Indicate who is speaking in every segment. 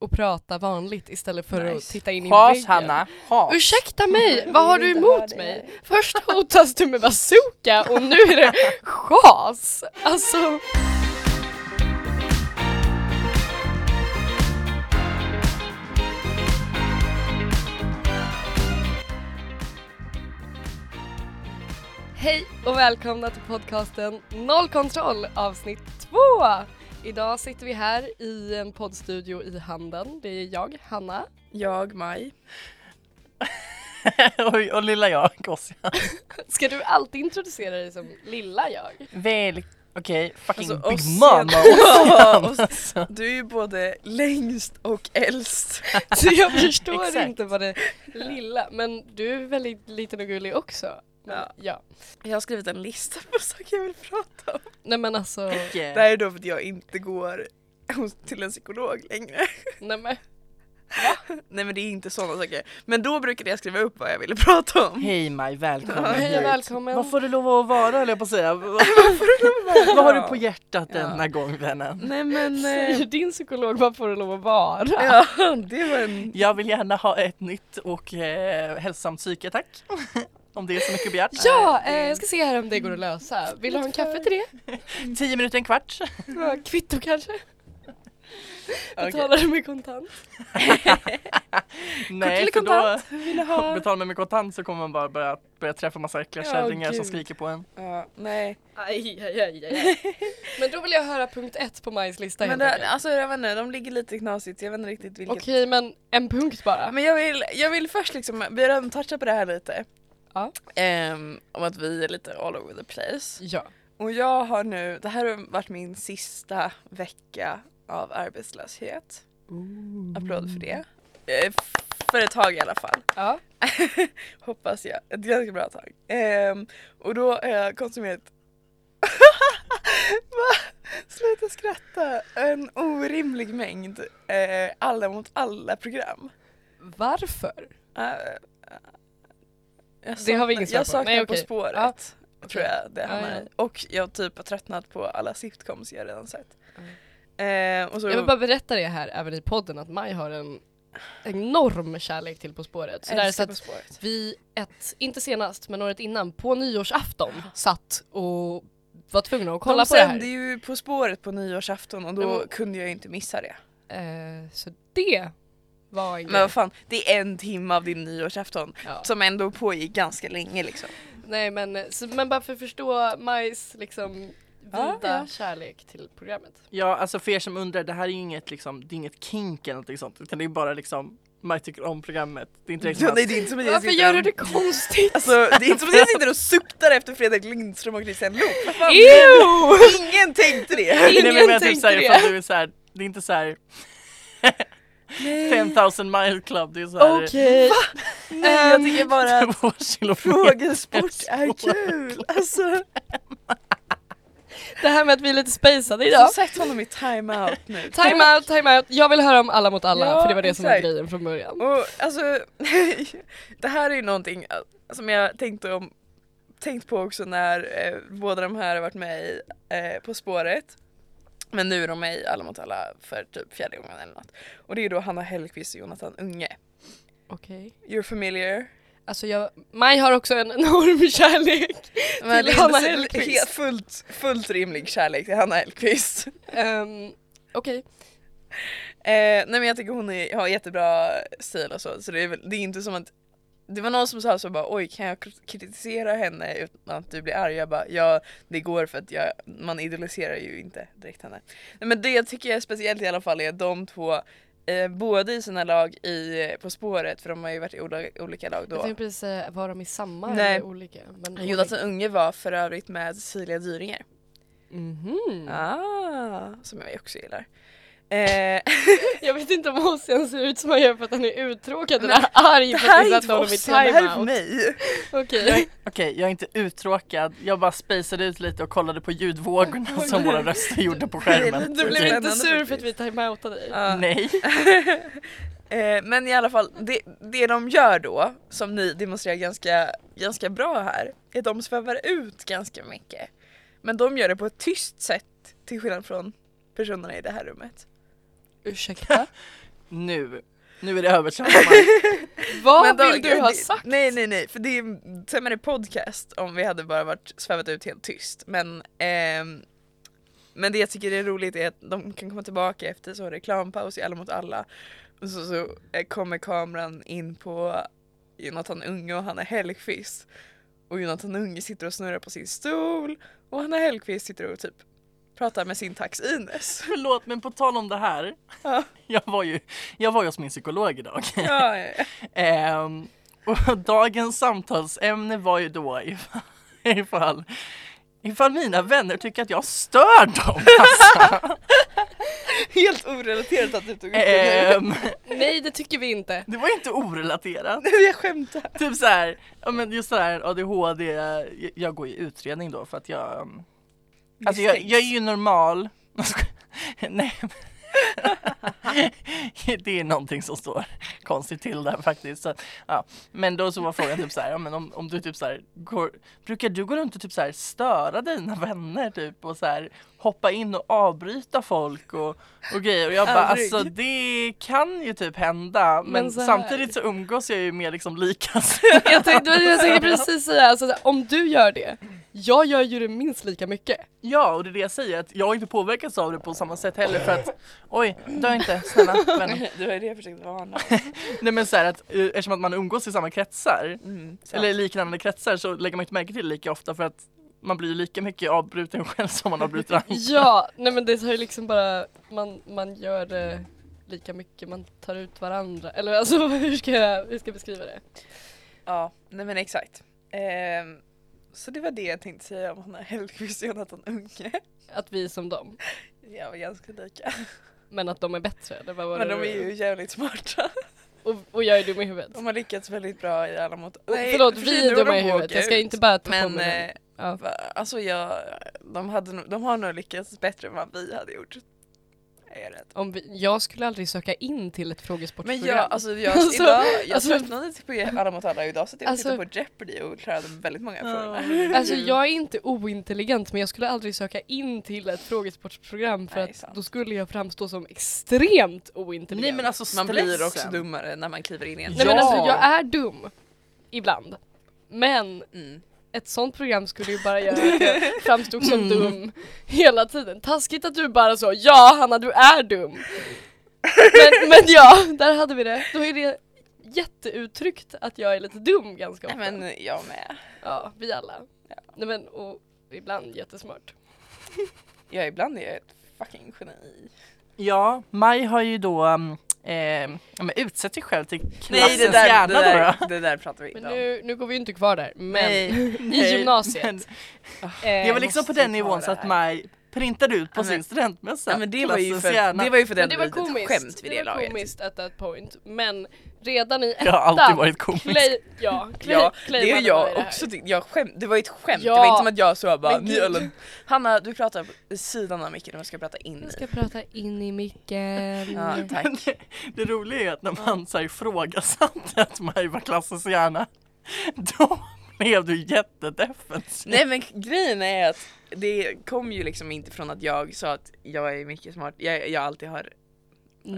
Speaker 1: och prata vanligt istället för att
Speaker 2: Nice.
Speaker 1: titta in i
Speaker 2: Has
Speaker 1: väggen.
Speaker 2: Hanna, has.
Speaker 1: Ursäkta mig, vad har
Speaker 3: vill
Speaker 1: du
Speaker 3: inte höra
Speaker 1: emot
Speaker 3: det
Speaker 1: mig? Först hotas du med bazooka och nu är det chas. Alltså, hej och välkomna till podcasten Noll kontroll avsnitt 2. Idag sitter vi här i en poddstudio i Handen. Det är jag, Hanna.
Speaker 3: Jag, Maj.
Speaker 2: och, och lilla jag, Gossia.
Speaker 1: Ska du alltid introducera dig som lilla jag?
Speaker 2: Väl, okej, fucking
Speaker 3: Alltså,
Speaker 2: big
Speaker 3: oss-
Speaker 2: mama.
Speaker 3: Ja, oss-
Speaker 2: Alltså.
Speaker 3: Du är ju både längst och äldst.
Speaker 1: Så jag förstår
Speaker 2: Exakt.
Speaker 1: inte vad det lilla, men du är väldigt liten och gullig också. Men, ja.
Speaker 3: Ja. Jag har skrivit en lista på saker jag vill prata om.
Speaker 1: Nej men alltså,
Speaker 3: Det här är då för att jag inte går hos- till en psykolog längre.
Speaker 1: nej men
Speaker 3: Nej men det är inte sådana saker. Men då brukade jag skriva upp vad jag ville prata om.
Speaker 2: Hej Maj, välkommen
Speaker 1: hej och
Speaker 2: hit.
Speaker 1: välkommen.
Speaker 2: Vad får du lov att vara höll jag på att säga. Vad vad har du på hjärtat
Speaker 3: Ja.
Speaker 2: denna gång vännen?
Speaker 3: Nej men... eh,
Speaker 1: Säger din psykolog, vad får du lov att vara?
Speaker 3: Ja, det var en...
Speaker 2: Jag vill gärna ha ett nytt och eh, hälsosamt psyke tack. Om det är så mycket begärt.
Speaker 1: Ja, eh, jag ska se här om det går att lösa. Vill du ha en kaffe till det?
Speaker 2: Tio minuter, en kvart.
Speaker 1: Ja, Kvitto kanske?
Speaker 2: Okej.
Speaker 1: Betalar du med kontant?
Speaker 2: Nej,
Speaker 1: eller
Speaker 2: för då
Speaker 1: Vill du ha?
Speaker 2: betalar man med kontant så kommer man bara börja, börja träffa massa äckliga
Speaker 3: Ja,
Speaker 2: kärringar som
Speaker 3: gud.
Speaker 2: skriker på en.
Speaker 3: Ja, nej.
Speaker 1: Aj, aj, aj, aj. Men då vill jag höra punkt ett på Majs lista
Speaker 3: Men
Speaker 1: helt
Speaker 3: det,
Speaker 1: enkelt.
Speaker 3: alltså jag vet inte, de ligger lite knasigt. Jag vet inte riktigt vilket.
Speaker 1: Okej men en punkt bara.
Speaker 3: Men jag vill, jag vill först liksom, vi har redan touchat på det här lite.
Speaker 1: Ja.
Speaker 3: Ehm, om att vi är lite all over the place.
Speaker 1: Ja.
Speaker 3: Och jag har nu, det här har varit min sista vecka av arbetslöshet. Applåd för det. Eh, för ett tag i alla fall.
Speaker 1: ja.
Speaker 3: Hoppas jag. Ett ganska bra tag. Ehm, och då har jag konsumerat... Va? Sluta skratta! En orimlig mängd eh, alla mot alla program.
Speaker 1: Varför?
Speaker 3: Eh, jag
Speaker 1: Det har vi ingen svar
Speaker 3: Jag
Speaker 1: på.
Speaker 3: saknar
Speaker 1: Nej,
Speaker 3: På
Speaker 1: okej.
Speaker 3: spåret.
Speaker 1: Ja.
Speaker 3: Tror jag det
Speaker 1: Ja,
Speaker 3: hamnar
Speaker 1: ja.
Speaker 3: i. Och jag typ har tröttnat på alla sitcoms jag redan sett. Eh, och så,
Speaker 1: Jag vill bara berätta det här även i podden att Maj har en enorm kärlek till På spåret. Så, där, så
Speaker 3: älskar
Speaker 1: att
Speaker 3: På spåret.
Speaker 1: vi, ett, inte senast men året innan, på nyårsafton satt och var tvungna att kolla
Speaker 3: De
Speaker 1: på det
Speaker 3: sände
Speaker 1: här. Mm.
Speaker 3: ju På spåret på nyårsafton och
Speaker 1: Ja,
Speaker 3: då
Speaker 1: men-
Speaker 3: kunde jag ju inte missa det.
Speaker 1: Eh, så det var en
Speaker 3: Men
Speaker 1: grej.
Speaker 3: vad fan, det är en timme av din nyårsafton
Speaker 1: Ja.
Speaker 3: som ändå pågick ganska länge liksom.
Speaker 1: Nej men, eh, så, men bara för att förstå Majs liksom vida
Speaker 3: Ja, ja.
Speaker 1: kärlek till programmet.
Speaker 2: Ja, alltså för er som undrar, det här är ju inget, liksom, det är inget kink eller någonting sånt, utan det är bara liksom man tycker om programmet. Det är inte liksom
Speaker 3: Ja,
Speaker 2: att-
Speaker 3: nej, det är inte som att jag
Speaker 1: Varför
Speaker 3: sitter
Speaker 1: gör du
Speaker 3: och-
Speaker 1: det konstigt?
Speaker 3: Alltså det är inte som att jag sitter och suktar efter Fredrik Lindström och Kristian Luuk. Vad fan,
Speaker 1: Ew!
Speaker 3: Ingen tänkte det!
Speaker 2: Nej, men jag menar typ
Speaker 1: tänkte
Speaker 2: såhär,
Speaker 1: det.
Speaker 2: ifall du är såhär, det är inte såhär 5000 mile club, det är såhär
Speaker 1: Okej.
Speaker 3: Nej,
Speaker 1: Ehm,
Speaker 3: jag tycker bara att
Speaker 2: två kilo
Speaker 3: frågesport är kul. Alltså,
Speaker 1: Det här med att vi är lite spejsade idag.
Speaker 3: som sagt honom i time-out nu.
Speaker 1: Time out, time out. Jag vill höra om alla mot alla
Speaker 3: Ja,
Speaker 1: för det var det som var
Speaker 3: exakt.
Speaker 1: grejen från början.
Speaker 3: Och alltså, det här är ju någonting eh, som jag tänkte om tänkt på också när eh, båda de här har varit med i eh, På spåret. Men nu är de med i Alla mot alla för typ fjärde gången eller något. Och det är då Hanna Hellquist och Jonathan Unge.
Speaker 1: Okej.
Speaker 3: You're familiar?
Speaker 1: Alltså jag, Maj har också en enorm kärlek
Speaker 3: Men
Speaker 1: till
Speaker 3: det är
Speaker 1: Hanna
Speaker 3: så- helt
Speaker 1: Hellquist.
Speaker 3: Fullt, fullt rimlig kärlek till Hanna Hellquist.
Speaker 1: Um, Okej,
Speaker 3: Eh, nej men jag tycker hon är, har jättebra stil och så, så det är, väl, det är inte som att det var någon som sa så bara oj kan jag kri- kritisera henne utan att du blir arg? Jag bara ja det går för att jag, man idoliserar ju inte direkt henne. Nej, men det jag tycker är speciellt i alla fall är att de två eh, både i sina lag i eh, På spåret för de har ju varit i ola- olika lag
Speaker 1: jag
Speaker 3: då.
Speaker 1: tänkte precis säga, var de i samma
Speaker 3: Nej. alltså-
Speaker 1: eller olika? Men
Speaker 3: Jonathan Unge var för övrigt med Cecilia Dyringer.
Speaker 1: Mhm.
Speaker 3: Ah, som jag också gillar. Eh,
Speaker 1: Jag vet inte om Ossian ser ut som han gör för att han är uttråkad eller arg
Speaker 3: det
Speaker 1: för att
Speaker 3: här
Speaker 1: vi
Speaker 3: är
Speaker 1: satte
Speaker 3: inte
Speaker 1: honom i
Speaker 3: oss, det här är
Speaker 1: time
Speaker 3: för
Speaker 1: out.
Speaker 3: mig.
Speaker 1: Okej.
Speaker 2: Okej, jag är inte uttråkad, jag bara spejsade ut lite och kollade på ljudvågorna som våra röster gjorde på skärmen.
Speaker 3: Det
Speaker 1: Du
Speaker 3: blir
Speaker 1: blev inte
Speaker 3: spännande
Speaker 1: sur för att vi
Speaker 3: faktiskt.
Speaker 1: timeoutade dig?
Speaker 3: Ja.
Speaker 2: Nej,
Speaker 3: Eh, men i alla fall, det, det de gör då, som ni demonstrerar ganska, ganska bra här, är att de svävar ut ganska mycket. Men de gör det på ett tyst sätt till skillnad från personerna i det här rummet.
Speaker 1: Ursäkta?
Speaker 2: nu, nu är det översvämning.
Speaker 1: Vad
Speaker 3: Men då-
Speaker 1: vill du ha
Speaker 3: det-
Speaker 1: sagt?
Speaker 3: Nej nej nej, för det är sämre podcast om vi hade bara varit svävat ut helt tyst. Men, ehm, men det jag tycker är roligt är att de kan komma tillbaka efter så reklampaus i Alla mot alla. Och så, så eh, kommer kameran in på Jonathan Unge och Hanna Hellquist. Och Jonathan Unge sitter och snurrar på sin stol och Hanna Hellquist sitter och typ pratar med sin tax Ines.
Speaker 2: Förlåt men på tal om det här.
Speaker 3: Ja.
Speaker 2: Jag var ju, jag var ju hos min psykolog idag.
Speaker 3: Ja, ja, ja.
Speaker 2: Ehm, och dagens samtalsämne var ju då ifall, ifall, ifall mina vänner tycker att jag stör dem. Alltså.
Speaker 3: Helt orelaterat att du tog upp
Speaker 1: Eh,
Speaker 3: det nu.
Speaker 2: Ehm,
Speaker 1: Nej, det tycker vi inte.
Speaker 2: det var ju inte orelaterat.
Speaker 3: Nej, Jag skämtar.
Speaker 2: Typ så här, ja men just det här ADHD, jag- jag går i utredning då för att jag um, Alltså jag, jag är ju normal Nej men- Det är någonting som står konstigt till där faktiskt så, ja. Men då så var frågan typ så här, ja, men om, om du typ så här, går, Brukar du gå runt och typ så här störa dina vänner typ och så här Hoppa in och avbryta folk och, och grejer och jag bara
Speaker 3: Aldrig.
Speaker 2: alltså det kan ju typ hända Men,
Speaker 1: Men så här.
Speaker 2: samtidigt så umgås jag ju med liksom likasinnade
Speaker 1: Jag tänkte, jag tänkte precis säga, alltså, om du gör det, jag gör ju det minst lika mycket.
Speaker 2: Ja, och det är det jag säger, att jag inte påverkas av det på samma sätt heller för att oj, dö inte, snälla vännen.
Speaker 3: Du har ju det försökt varna.
Speaker 2: Nej men så här att eh, eftersom att man umgås i samma kretsar,
Speaker 3: Mm,
Speaker 2: eller liknande kretsar så lägger man inte märke till det lika ofta för att man blir ju lika mycket avbruten själv som man avbryter andra.
Speaker 1: Ja, nej men det är ju liksom bara, man, man gör det lika mycket, man tar ut varandra. Eller alltså hur ska jag, hur ska jag beskriva det?
Speaker 3: Ja, nej men exakt. Ehm, så det var det jag tänkte säga om Hanna Hellquist och Jonathan Unge.
Speaker 1: Att vi är som dem,
Speaker 3: Jag var ganska lika.
Speaker 1: men att de är bättre. Det var vad
Speaker 3: Men
Speaker 1: det
Speaker 3: de är ju jävligt smarta.
Speaker 1: och, och jag är dum i huvudet.
Speaker 3: De har lyckats väldigt bra i alla mot...
Speaker 1: Förlåt,
Speaker 3: för
Speaker 1: vi
Speaker 3: sig,
Speaker 1: är
Speaker 3: då
Speaker 1: dumma i
Speaker 3: de
Speaker 1: huvudet.
Speaker 3: åker
Speaker 1: Jag ska
Speaker 3: ut.
Speaker 1: inte bara ta på
Speaker 3: Men
Speaker 1: mig
Speaker 3: eh,
Speaker 1: den. Ja.
Speaker 3: va- alltså jag, de, hade, nog- de har nog lyckats bättre än vad vi hade gjort. Är jag rädd.
Speaker 1: Om vi, jag skulle aldrig söka in till ett
Speaker 3: Men
Speaker 1: frågesportprogram.
Speaker 3: jag, alltså jag,
Speaker 1: Alltså,
Speaker 3: idag, jag
Speaker 1: alltså-
Speaker 3: tröttnade på Alla mot alla idag så att jag
Speaker 1: Alltså-
Speaker 3: tittade på Jeopardy och klarade väldigt många frågor.
Speaker 1: Alltså jag är inte ointelligent men jag skulle aldrig söka in till ett frågesportprogram för
Speaker 3: Nej,
Speaker 1: att
Speaker 3: sant.
Speaker 1: då skulle jag framstå som extremt ointelligent.
Speaker 2: Nej men alltså
Speaker 3: Man
Speaker 2: stressen.
Speaker 3: blir också dummare när man kliver in i en
Speaker 1: Nej, men
Speaker 2: Ja.
Speaker 1: alltså jag är dum. Ibland. Men
Speaker 3: Mm.
Speaker 1: ett sånt program skulle ju bara göra att jag framstod som dum hela tiden. Taskigt att du bara sa ja Hanna du är dum. Men, men ja, där hade vi det. Då är det jätteuttryckt att jag är lite dum ganska
Speaker 3: Nej,
Speaker 1: ofta.
Speaker 3: men jag med.
Speaker 1: Ja, vi alla. Nej men och ibland jättesmart.
Speaker 3: Ja ibland är jag ett fucking geni.
Speaker 2: Ja, Maj har ju då um, eh, ja, men utsett sig själv till klassens hjärna
Speaker 3: det, där,
Speaker 2: då. då.
Speaker 3: det där pratar vi
Speaker 1: Men
Speaker 3: inte om.
Speaker 1: nu, nu går vi ju inte kvar där. Men
Speaker 2: Nej,
Speaker 1: gymnasiet.
Speaker 2: men
Speaker 1: eh,
Speaker 2: Jag var liksom på
Speaker 3: måste
Speaker 2: den
Speaker 3: ta
Speaker 2: nivån
Speaker 3: det
Speaker 2: så att
Speaker 3: här.
Speaker 2: Maj printade ut på
Speaker 3: Ja, men-
Speaker 2: sin studentmössa.
Speaker 3: Nej, men det, var ju
Speaker 2: klassens
Speaker 3: för,
Speaker 2: hjärna.
Speaker 3: det var ju för
Speaker 1: men
Speaker 3: den
Speaker 1: det var
Speaker 3: ett skämt
Speaker 1: komiskt.
Speaker 3: vid
Speaker 1: Det
Speaker 3: det,
Speaker 1: var
Speaker 3: laget.
Speaker 1: komiskt at that point. Men redan i ettan.
Speaker 2: Jag har alltid varit komisk.
Speaker 1: Clay, ja, clay,
Speaker 3: Ja,
Speaker 1: clay
Speaker 3: det är
Speaker 1: hade
Speaker 3: jag
Speaker 1: varit det här.
Speaker 3: också tyckte. Jag skämt, det var ju ett skämt,
Speaker 1: Ja.
Speaker 3: det var inte som att jag så bara
Speaker 1: Men
Speaker 3: "Ni
Speaker 1: gud."
Speaker 3: alla- Hanna du pratar på sidan av micken och jag ska prata in i.
Speaker 1: Jag ska prata in i micken.
Speaker 3: Ja, tack.
Speaker 2: Men det, det roliga är att när man så här ifrågasatte att Maj var klassens hjärna, då blev du jättedefensiv.
Speaker 3: Nej men grejen är att det kom ju liksom inte från att jag sa att jag är mycket smart, jag, jag alltid har Jag vet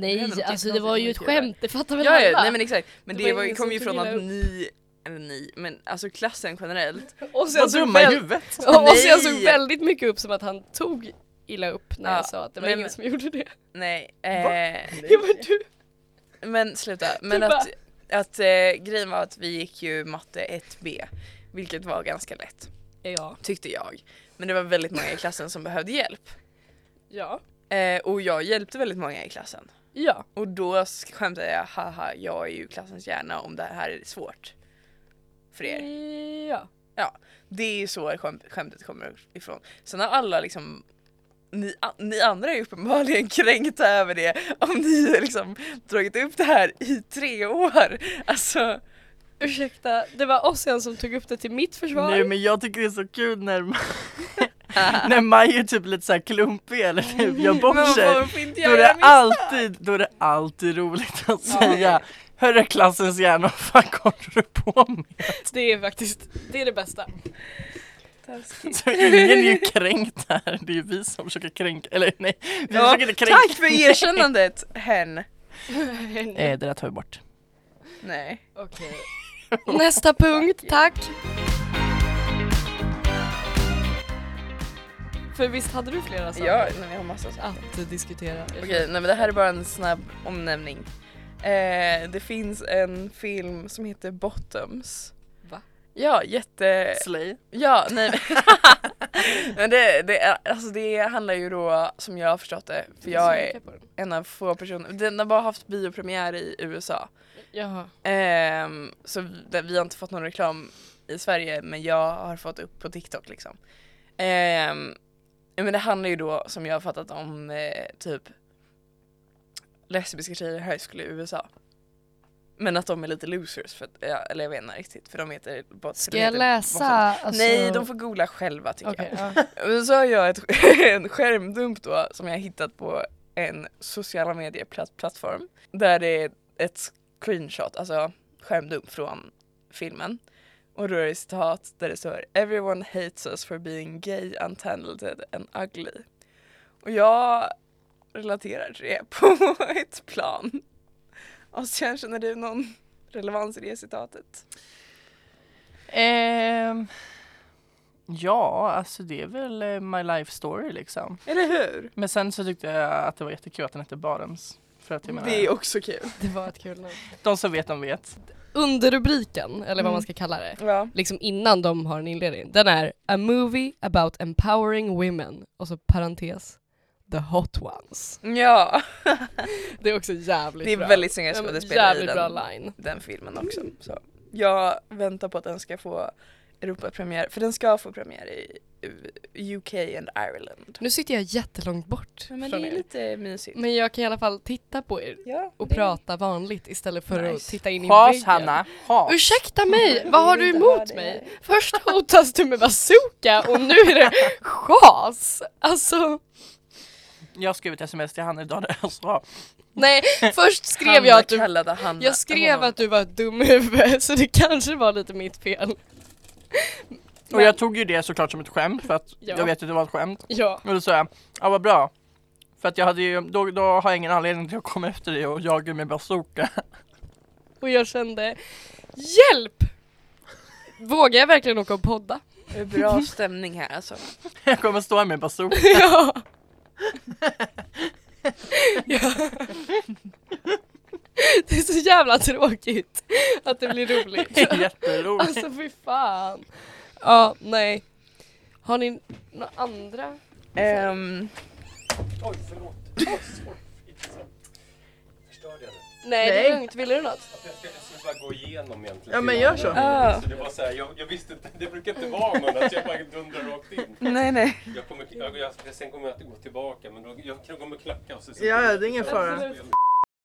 Speaker 1: Nej,
Speaker 3: inte,
Speaker 1: alltså
Speaker 3: jag
Speaker 1: det var
Speaker 3: tycker
Speaker 1: ju ett
Speaker 3: inte jag gör det.
Speaker 1: skämt, det fattar väl
Speaker 3: Ja, ja
Speaker 1: alla?
Speaker 3: nej men exakt, men
Speaker 1: Det
Speaker 3: det,
Speaker 1: var
Speaker 3: var ju,
Speaker 1: ingen
Speaker 3: kom
Speaker 1: som
Speaker 3: ju
Speaker 1: tog
Speaker 3: från
Speaker 1: illa
Speaker 3: att
Speaker 1: upp.
Speaker 3: ni, eller ni, men alltså klassen generellt.
Speaker 1: och sen
Speaker 2: Vad
Speaker 1: så alltså
Speaker 2: dumma i
Speaker 1: väl-
Speaker 2: huvudet!
Speaker 1: och och så jag såg
Speaker 3: Nej.
Speaker 1: väldigt mycket upp som att han tog illa upp när
Speaker 3: Ja,
Speaker 1: jag sa att det var
Speaker 3: men-
Speaker 1: ingen som gjorde det.
Speaker 3: Nej, eh,
Speaker 1: Ja, men du,
Speaker 3: men sluta. Men
Speaker 1: Du bara-
Speaker 3: att, att eh, grejen var att vi gick ju matte 1B, vilket var ganska lätt
Speaker 1: ja.
Speaker 3: tyckte jag. Men det var väldigt många i klassen som behövde hjälp
Speaker 1: ja,
Speaker 3: eh, och jag hjälpte väldigt många i klassen.
Speaker 1: ja,
Speaker 3: Och då skämtade jag, haha jag är ju klassens hjärna om det här är svårt för er.
Speaker 1: ja.
Speaker 3: Det är ju så skäm- skämtet kommer ifrån. Sen har alla liksom ni, a- ni andra är ju uppenbarligen kränkta över det om ni har liksom dragit upp det här i tre år. Alltså,
Speaker 1: Ursäkta, det var Ossian som tog upp det till mitt försvar.
Speaker 2: Nej men jag tycker det är så kul när, när Maj är typ lite så här klumpig eller typ gör
Speaker 3: men
Speaker 2: bort sig.
Speaker 3: varför
Speaker 2: Då
Speaker 3: inte
Speaker 2: är,
Speaker 3: jag
Speaker 2: det
Speaker 3: göra mitt?
Speaker 2: alltid, då är det alltid roligt att säga Hörru klassens hjärna, vad fan kommer du på med?
Speaker 1: Det är faktiskt, det är det bästa.
Speaker 3: Taskigt.
Speaker 2: Så ingen är ju kränkt här, det är ju vi som försöker kränka, eller nej, vi
Speaker 3: Ja,
Speaker 2: försöker inte kränka.
Speaker 3: Tack för erkännandet hen!
Speaker 2: Eh, det där tar vi bort.
Speaker 3: Nej.
Speaker 1: Okej. Nästa punkt, tack! För visst hade du flera
Speaker 2: Alltså.
Speaker 1: saker
Speaker 3: Ja, men vi har massa saker.
Speaker 1: att diskutera?
Speaker 3: Okej, nej men det här är bara en snabb omnämning. Eh, det finns en film som heter Bottoms.
Speaker 1: Va?
Speaker 3: Ja, jätte...
Speaker 2: Slay.
Speaker 3: Ja, nej men- men det, det, är- alltså det handlar ju då, som jag har förstått det, för jag är en av få personer, den har bara haft biopremiär i USA.
Speaker 1: Jaha.
Speaker 3: Ehm, så vi, vi har inte fått någon reklam i Sverige men jag har fått upp på TikTok liksom. Ehm, ja, men det handlar ju då som jag har fattat om eh, typ lesbiska tjejer i high school i USA. Men att de är lite losers, för att, ja, eller jag vet inte riktigt för de heter bara...
Speaker 1: Ska jag läsa? Alltså...
Speaker 3: Nej, de får googla själva tycker jag.
Speaker 1: Okej, ja.
Speaker 3: Men så har jag ett, en skärmdump då som jag har hittat på en sociala medieplattform där det är ett screenshot, alltså skärmdump från filmen. Och då är det citat där det står “Everyone hates us for being gay, untalented and ugly”. Och jag relaterar till det på ett plan. Och sen känner du någon relevans i det citatet?
Speaker 2: Ehm, ja, alltså det är väl eh, my life story liksom.
Speaker 3: Eller hur?
Speaker 2: Men sen så tyckte jag att det var jättekul att den hette Barums. För att jag menar,
Speaker 3: Det är också kul.
Speaker 1: Det var ett kul namn.
Speaker 2: de som vet de vet.
Speaker 1: Underrubriken, eller vad
Speaker 3: Mm.
Speaker 1: man ska kalla det,
Speaker 3: Ja.
Speaker 1: liksom innan de har en inledning, den är A movie about empowering women och så parentes the hot ones.
Speaker 3: Ja.
Speaker 1: Det är också jävligt
Speaker 3: Det är
Speaker 1: bra.
Speaker 3: väldigt snygga
Speaker 1: Ja, men
Speaker 3: skådespelare i
Speaker 1: Jävligt bra Mm.
Speaker 3: den,
Speaker 1: line.
Speaker 3: den filmen också. Så. Jag väntar på att den ska få Europapremiär, för den ska få premiär i U- UK and Ireland.
Speaker 1: Nu sitter jag jättelångt bort
Speaker 3: Men det
Speaker 1: från
Speaker 3: är
Speaker 1: er.
Speaker 3: lite mysigt.
Speaker 1: Men jag kan i alla fall titta på er
Speaker 3: ja, Mm.
Speaker 1: och
Speaker 3: det-
Speaker 1: prata vanligt istället för att
Speaker 3: Nice.
Speaker 1: titta in i
Speaker 2: Has
Speaker 1: väggen.
Speaker 2: Hanna, has.
Speaker 1: Ursäkta mig, vad har
Speaker 3: Jag
Speaker 1: du
Speaker 3: vill inte ha
Speaker 1: emot
Speaker 3: det.
Speaker 1: mig? Först hotas du med bazooka och nu är det chas. Alltså,
Speaker 2: Jag skrev ett sms till Hanna idag där jag sa
Speaker 1: nej, först skrev
Speaker 3: Hanna
Speaker 1: jag att du
Speaker 3: kallade Hanna.
Speaker 1: Jag skrev
Speaker 3: honom.
Speaker 1: att du var ett dum huvud så det kanske var lite mitt fel.
Speaker 2: Och jag tog ju det såklart som ett skämt för att
Speaker 1: Ja.
Speaker 2: jag vet att det var ett skämt.
Speaker 1: Ja,
Speaker 2: Och då sa jag, ja vad bra. För att jag hade ju, då, då har jag ingen anledning till att komma efter dig och jaga med bazooka.
Speaker 1: och jag kände hjälp! Vågar jag verkligen åka och podda?
Speaker 3: Det är Bra stämning här alltså.
Speaker 1: Mm.
Speaker 2: Jag kommer stå här med bazooka.
Speaker 1: ja. ja. Det är så jävla tråkigt att det blir roligt.
Speaker 2: Det är jätteroligt.
Speaker 1: Alltså fy fan. Ja, nej. Har ni några andra?
Speaker 3: Ehm,
Speaker 2: Oj, förlåt.
Speaker 4: Förstörde jag det?
Speaker 1: Nej, det
Speaker 2: Nej.
Speaker 1: är lugnt. Vill du något?
Speaker 4: Att jag skulle jag skulle bara gå igenom egentligen.
Speaker 2: Ja, men gör så.
Speaker 3: Ah.
Speaker 4: så det var så här, jag, jag visste inte, det brukar inte vara någon att jag bara dundrar rakt in.
Speaker 3: nej nej.
Speaker 4: Jag kommer, jag, jag, sen kommer jag att gå tillbaka men då, jag kommer klacka och så... så
Speaker 2: Ja, ja, det är ingen fara.
Speaker 1: Absolut.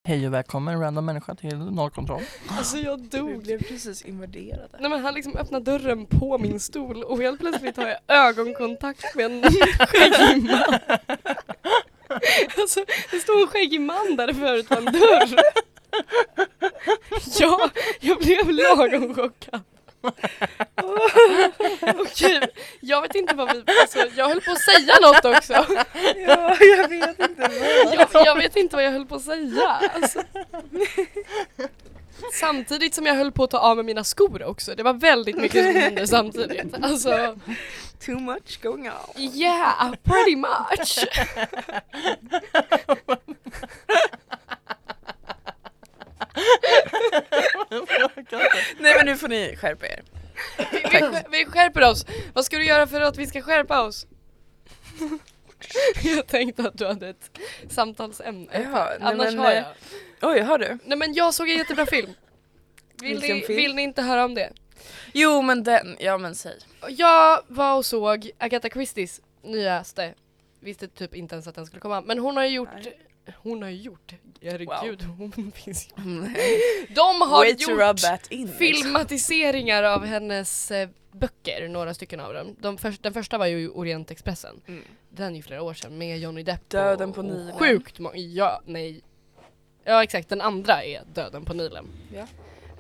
Speaker 2: Hej och välkommen random människa till nollkontroll.
Speaker 1: Alltså jag
Speaker 3: Du
Speaker 1: dog.
Speaker 3: blev precis invaderad.
Speaker 1: Nej men han liksom öppnar dörren på min stol och helt plötsligt har jag ögonkontakt med en skäggig man. Alltså det stod en skäggig man där förut på en dörr. Ja, jag blev lagom chockad. Okej, jag vet inte vad vi, alltså jag höll på att säga något också.
Speaker 3: Ja, jag vet inte vad.
Speaker 1: Jag, jag vet inte vad jag höll på att säga. Alltså. Samtidigt som jag höll på att ta av mig mina skor också. Det var väldigt mycket som hände samtidigt. Alltså,
Speaker 3: Too much going on.
Speaker 1: yeah, pretty much.
Speaker 3: Nej men nu får ni skärpa er.
Speaker 1: Vi, vi, vi skärper oss. Vad ska du göra för att vi ska skärpa oss? Jag tänkte att du hade ett samtalsämne.
Speaker 3: Ja, nej,
Speaker 1: Annars
Speaker 3: men,
Speaker 1: har
Speaker 3: eh,
Speaker 1: jag.
Speaker 3: Oj, har du?
Speaker 1: Nej men jag såg en jättebra film. Vill
Speaker 3: Vilken
Speaker 1: ni,
Speaker 3: film?
Speaker 1: vill ni inte höra om det?
Speaker 3: Jo men den, ja men säg.
Speaker 1: Jag var och såg Agatha Christies nyaste. Visste typ inte ens att den skulle komma. Men hon har ju gjort...
Speaker 3: Nej.
Speaker 1: Hon har ju gjort... Herregud, hon finns ju.
Speaker 3: Nej.
Speaker 1: De har
Speaker 3: Way to rub
Speaker 1: gjort
Speaker 3: that in. liksom.
Speaker 1: filmatiseringar av hennes eh, böcker, några stycken av dem. De förs- den första var ju Orientexpressen.
Speaker 3: Mm.
Speaker 1: Den är ju flera år sedan med Johnny Depp.
Speaker 3: Döden
Speaker 1: och,
Speaker 3: på Nilen.
Speaker 1: Och sjukt många, ja, nej. Ja exakt, den andra är Döden på Nilen.
Speaker 3: Ja.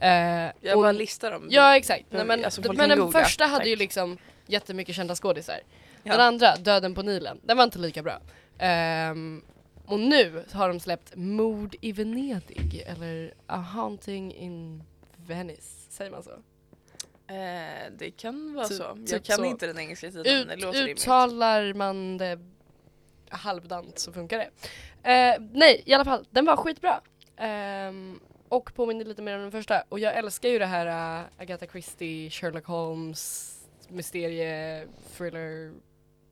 Speaker 1: Eh,
Speaker 3: Jag
Speaker 1: och-
Speaker 3: bara listar dem.
Speaker 1: Ja exakt, Nej,
Speaker 3: Men,
Speaker 1: men,
Speaker 3: alltså,
Speaker 1: d-
Speaker 3: folk
Speaker 1: men
Speaker 3: kan
Speaker 1: den
Speaker 3: googla.
Speaker 1: första hade
Speaker 3: Tack.
Speaker 1: ju liksom jättemycket kända skådisar.
Speaker 3: Ja.
Speaker 1: Den andra, Döden på Nilen, den var inte lika bra. Ehm, Och nu har de släppt Mord i Venedig, eller A Haunting in Venice, säger man så?
Speaker 3: Eh, det kan vara
Speaker 1: Typ-
Speaker 3: så. Jag
Speaker 1: typ
Speaker 3: kan
Speaker 1: så.
Speaker 3: inte den engelska titeln men det
Speaker 1: Ut,
Speaker 3: låter rimligt.
Speaker 1: uttalar man det halvdant så funkar det. Eh, nej, i alla fall, den var skitbra. Ehm, och påminner lite mer om den första. Och jag älskar ju det här eh, Agatha Christie, Sherlock Holmes, mysterie, thriller.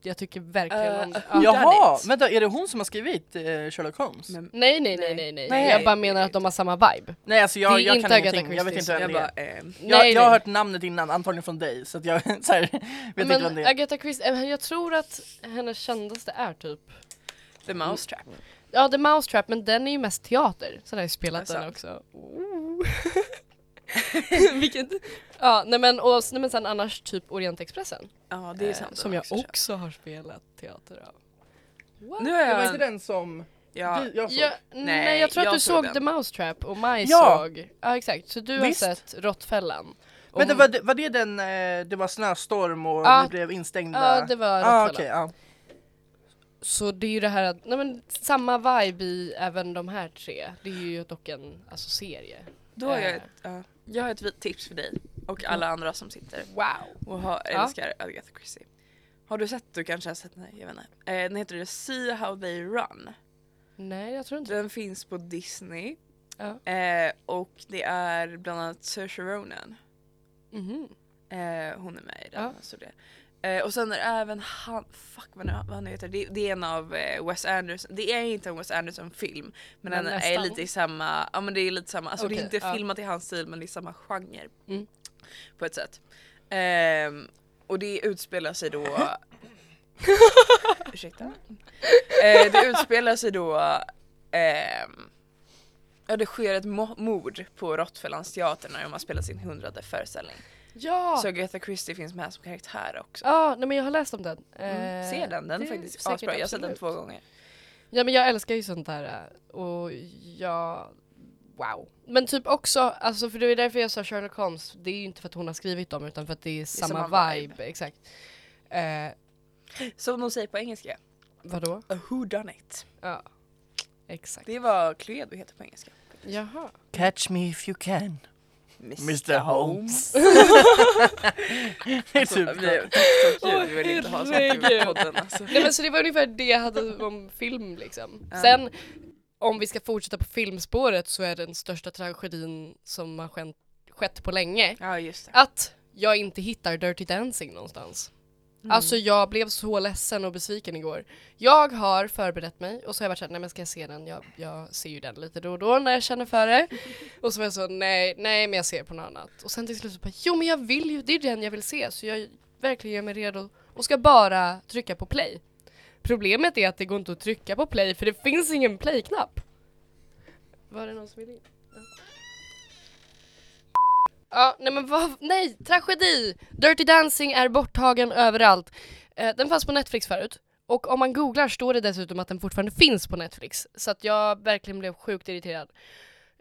Speaker 1: Jag tycker verkligen om
Speaker 3: Eh,
Speaker 1: Ja.
Speaker 2: Jaha, vänta är det hon som har skrivit eh, Sherlock Holmes?
Speaker 3: Men-
Speaker 1: Nej, nej, nej,
Speaker 3: Nej.
Speaker 1: nej, nej.
Speaker 2: Nej.
Speaker 1: Jag bara menar att de har samma vibe.
Speaker 2: Nej alltså
Speaker 1: Det är
Speaker 2: jag, jag
Speaker 1: inte
Speaker 2: kan
Speaker 1: Agatha
Speaker 2: ingenting, jag vet
Speaker 1: Christie,
Speaker 2: inte vem
Speaker 3: Jag
Speaker 2: det är.
Speaker 3: bara, ehm,
Speaker 2: Jag,
Speaker 1: nej,
Speaker 2: jag
Speaker 1: nej.
Speaker 2: har hört namnet innan, antagligen från dig så att jag så här, vet inte vem
Speaker 1: Men
Speaker 2: det är.
Speaker 1: Agatha Christie, eh, jag tror att hennes kändaste är typ
Speaker 3: The Mousetrap.
Speaker 1: Ja, The Mousetrap, men den är ju mest teater. Så den har jag spelat
Speaker 3: Alltså.
Speaker 1: den också. Ooh. Vilket, ja, nej men, och, nej men sen annars typ Orientexpressen.
Speaker 3: Ja det är
Speaker 1: eh,
Speaker 3: sant.
Speaker 1: som
Speaker 3: den
Speaker 1: jag
Speaker 3: har också
Speaker 1: också har spelat teater av. What?
Speaker 3: köpt. Nu har
Speaker 2: Det var inte
Speaker 3: jag...
Speaker 2: den som
Speaker 3: Ja,
Speaker 2: du, jag såg.
Speaker 1: Ja, nej, jag tror att
Speaker 3: jag
Speaker 1: du
Speaker 3: såg
Speaker 1: såg
Speaker 3: den.
Speaker 1: The Mousetrap och Maj
Speaker 2: Ja.
Speaker 1: såg. Ja exakt, så du
Speaker 2: Visst.
Speaker 1: har sett Råttfällan. Och
Speaker 2: Men det
Speaker 1: hon-
Speaker 2: var, det- var det den, eh, det var snöstorm och
Speaker 1: Ja.
Speaker 2: vi blev instängda?
Speaker 1: Ja det var
Speaker 2: ah,
Speaker 1: Råttfällan.
Speaker 2: okej, ja.
Speaker 1: Så det är ju det här att, nej men samma vibe i även de här tre. Det är ju dock en alltså, serie.
Speaker 3: då har jag
Speaker 1: Eh.
Speaker 3: ett, ja. jag har ett vi- tips för dig och alla andra som sitter
Speaker 1: Wow!
Speaker 3: och har,
Speaker 1: Ja.
Speaker 3: älskar Agatha Christie. Har du sett, du kanske har sett den, här, jag vet inte. Eh, den heter See How They Run.
Speaker 1: Nej jag tror inte
Speaker 3: Den finns på Disney.
Speaker 1: Ja.
Speaker 3: Eh, och det är bland annat Saoirse Ronan.
Speaker 1: det. Mhm.
Speaker 3: Eh, hon är med i den.
Speaker 1: Ja.
Speaker 3: Så det. Eh, och sen är det även han, fuck vad, nu, vad han heter, det, det är en av eh, Wes Anderson, det är inte en Wes Anderson-film men,
Speaker 1: Men
Speaker 3: den är
Speaker 1: nästan.
Speaker 3: lite i samma, ja men det är lite samma, alltså det är
Speaker 1: Okej,
Speaker 3: inte
Speaker 1: ja.
Speaker 3: filmat i hans stil men det är samma genre.
Speaker 1: Mm.
Speaker 3: På ett sätt. Ehm, och det utspelar sig då Ursäkta? Eh, det utspelar sig då ehm, Ja det sker ett mo- mord på Råttfällans teater när de har spelat sin hundrade föreställning.
Speaker 1: Ja!
Speaker 3: Så Agatha Christie finns med som karaktär också.
Speaker 1: Ja, nej men jag har läst om den.
Speaker 3: Mm,
Speaker 1: Eh,
Speaker 3: se den, den är
Speaker 1: det
Speaker 3: faktiskt
Speaker 1: säkert
Speaker 3: asbra. Jag har sett den
Speaker 1: absolut.
Speaker 3: två gånger.
Speaker 1: Ja men jag älskar ju sånt där eh, och jag, wow. Men typ också, alltså för det är därför jag sa Sherlock Holmes, det är ju inte för att hon har skrivit dem utan för att det är samma,
Speaker 3: samma
Speaker 1: vibe.
Speaker 3: vibe.
Speaker 1: Exakt. Eh,
Speaker 3: Som de säger på engelska,
Speaker 1: vadå?
Speaker 3: a who done it.
Speaker 1: Ja, exakt.
Speaker 3: Det var Cluedo heter på engelska.
Speaker 1: Jaha.
Speaker 2: Catch me if you can, Mr Holmes. det är
Speaker 3: Alltså,
Speaker 2: typ
Speaker 3: vi,
Speaker 2: det.
Speaker 3: tack och gud, vi vill inte ha sånt i
Speaker 1: herregud.
Speaker 3: podden alltså.
Speaker 1: Nej men så det var ungefär det jag hade om film liksom.
Speaker 3: Ja.
Speaker 1: Sen om vi ska fortsätta på filmspåret så är den största tragedin som har skett, skett på länge
Speaker 3: Ja just det.
Speaker 1: att jag inte hittar Dirty Dancing någonstans. Alltså jag blev så ledsen och besviken igår. Jag har förberett mig och så har jag varit såhär, nej men ska jag se den? Jag, jag ser ju den lite då och då när jag känner för det. Och så var jag så, nej, nej men jag ser på något annat. Och sen till slut så bara, jo men jag vill ju, det är den jag vill se. Så jag verkligen gör mig redo och ska bara trycka på play. Problemet är att det går inte att trycka på play för det finns ingen play-knapp. Var det någon som ville in? Ja. Ja, nej men vad, nej, tragedi! Dirty Dancing är borttagen överallt. Eh, den fanns på Netflix förut. Och om man googlar står det dessutom att den fortfarande finns på Netflix. Så att jag verkligen blev sjukt irriterad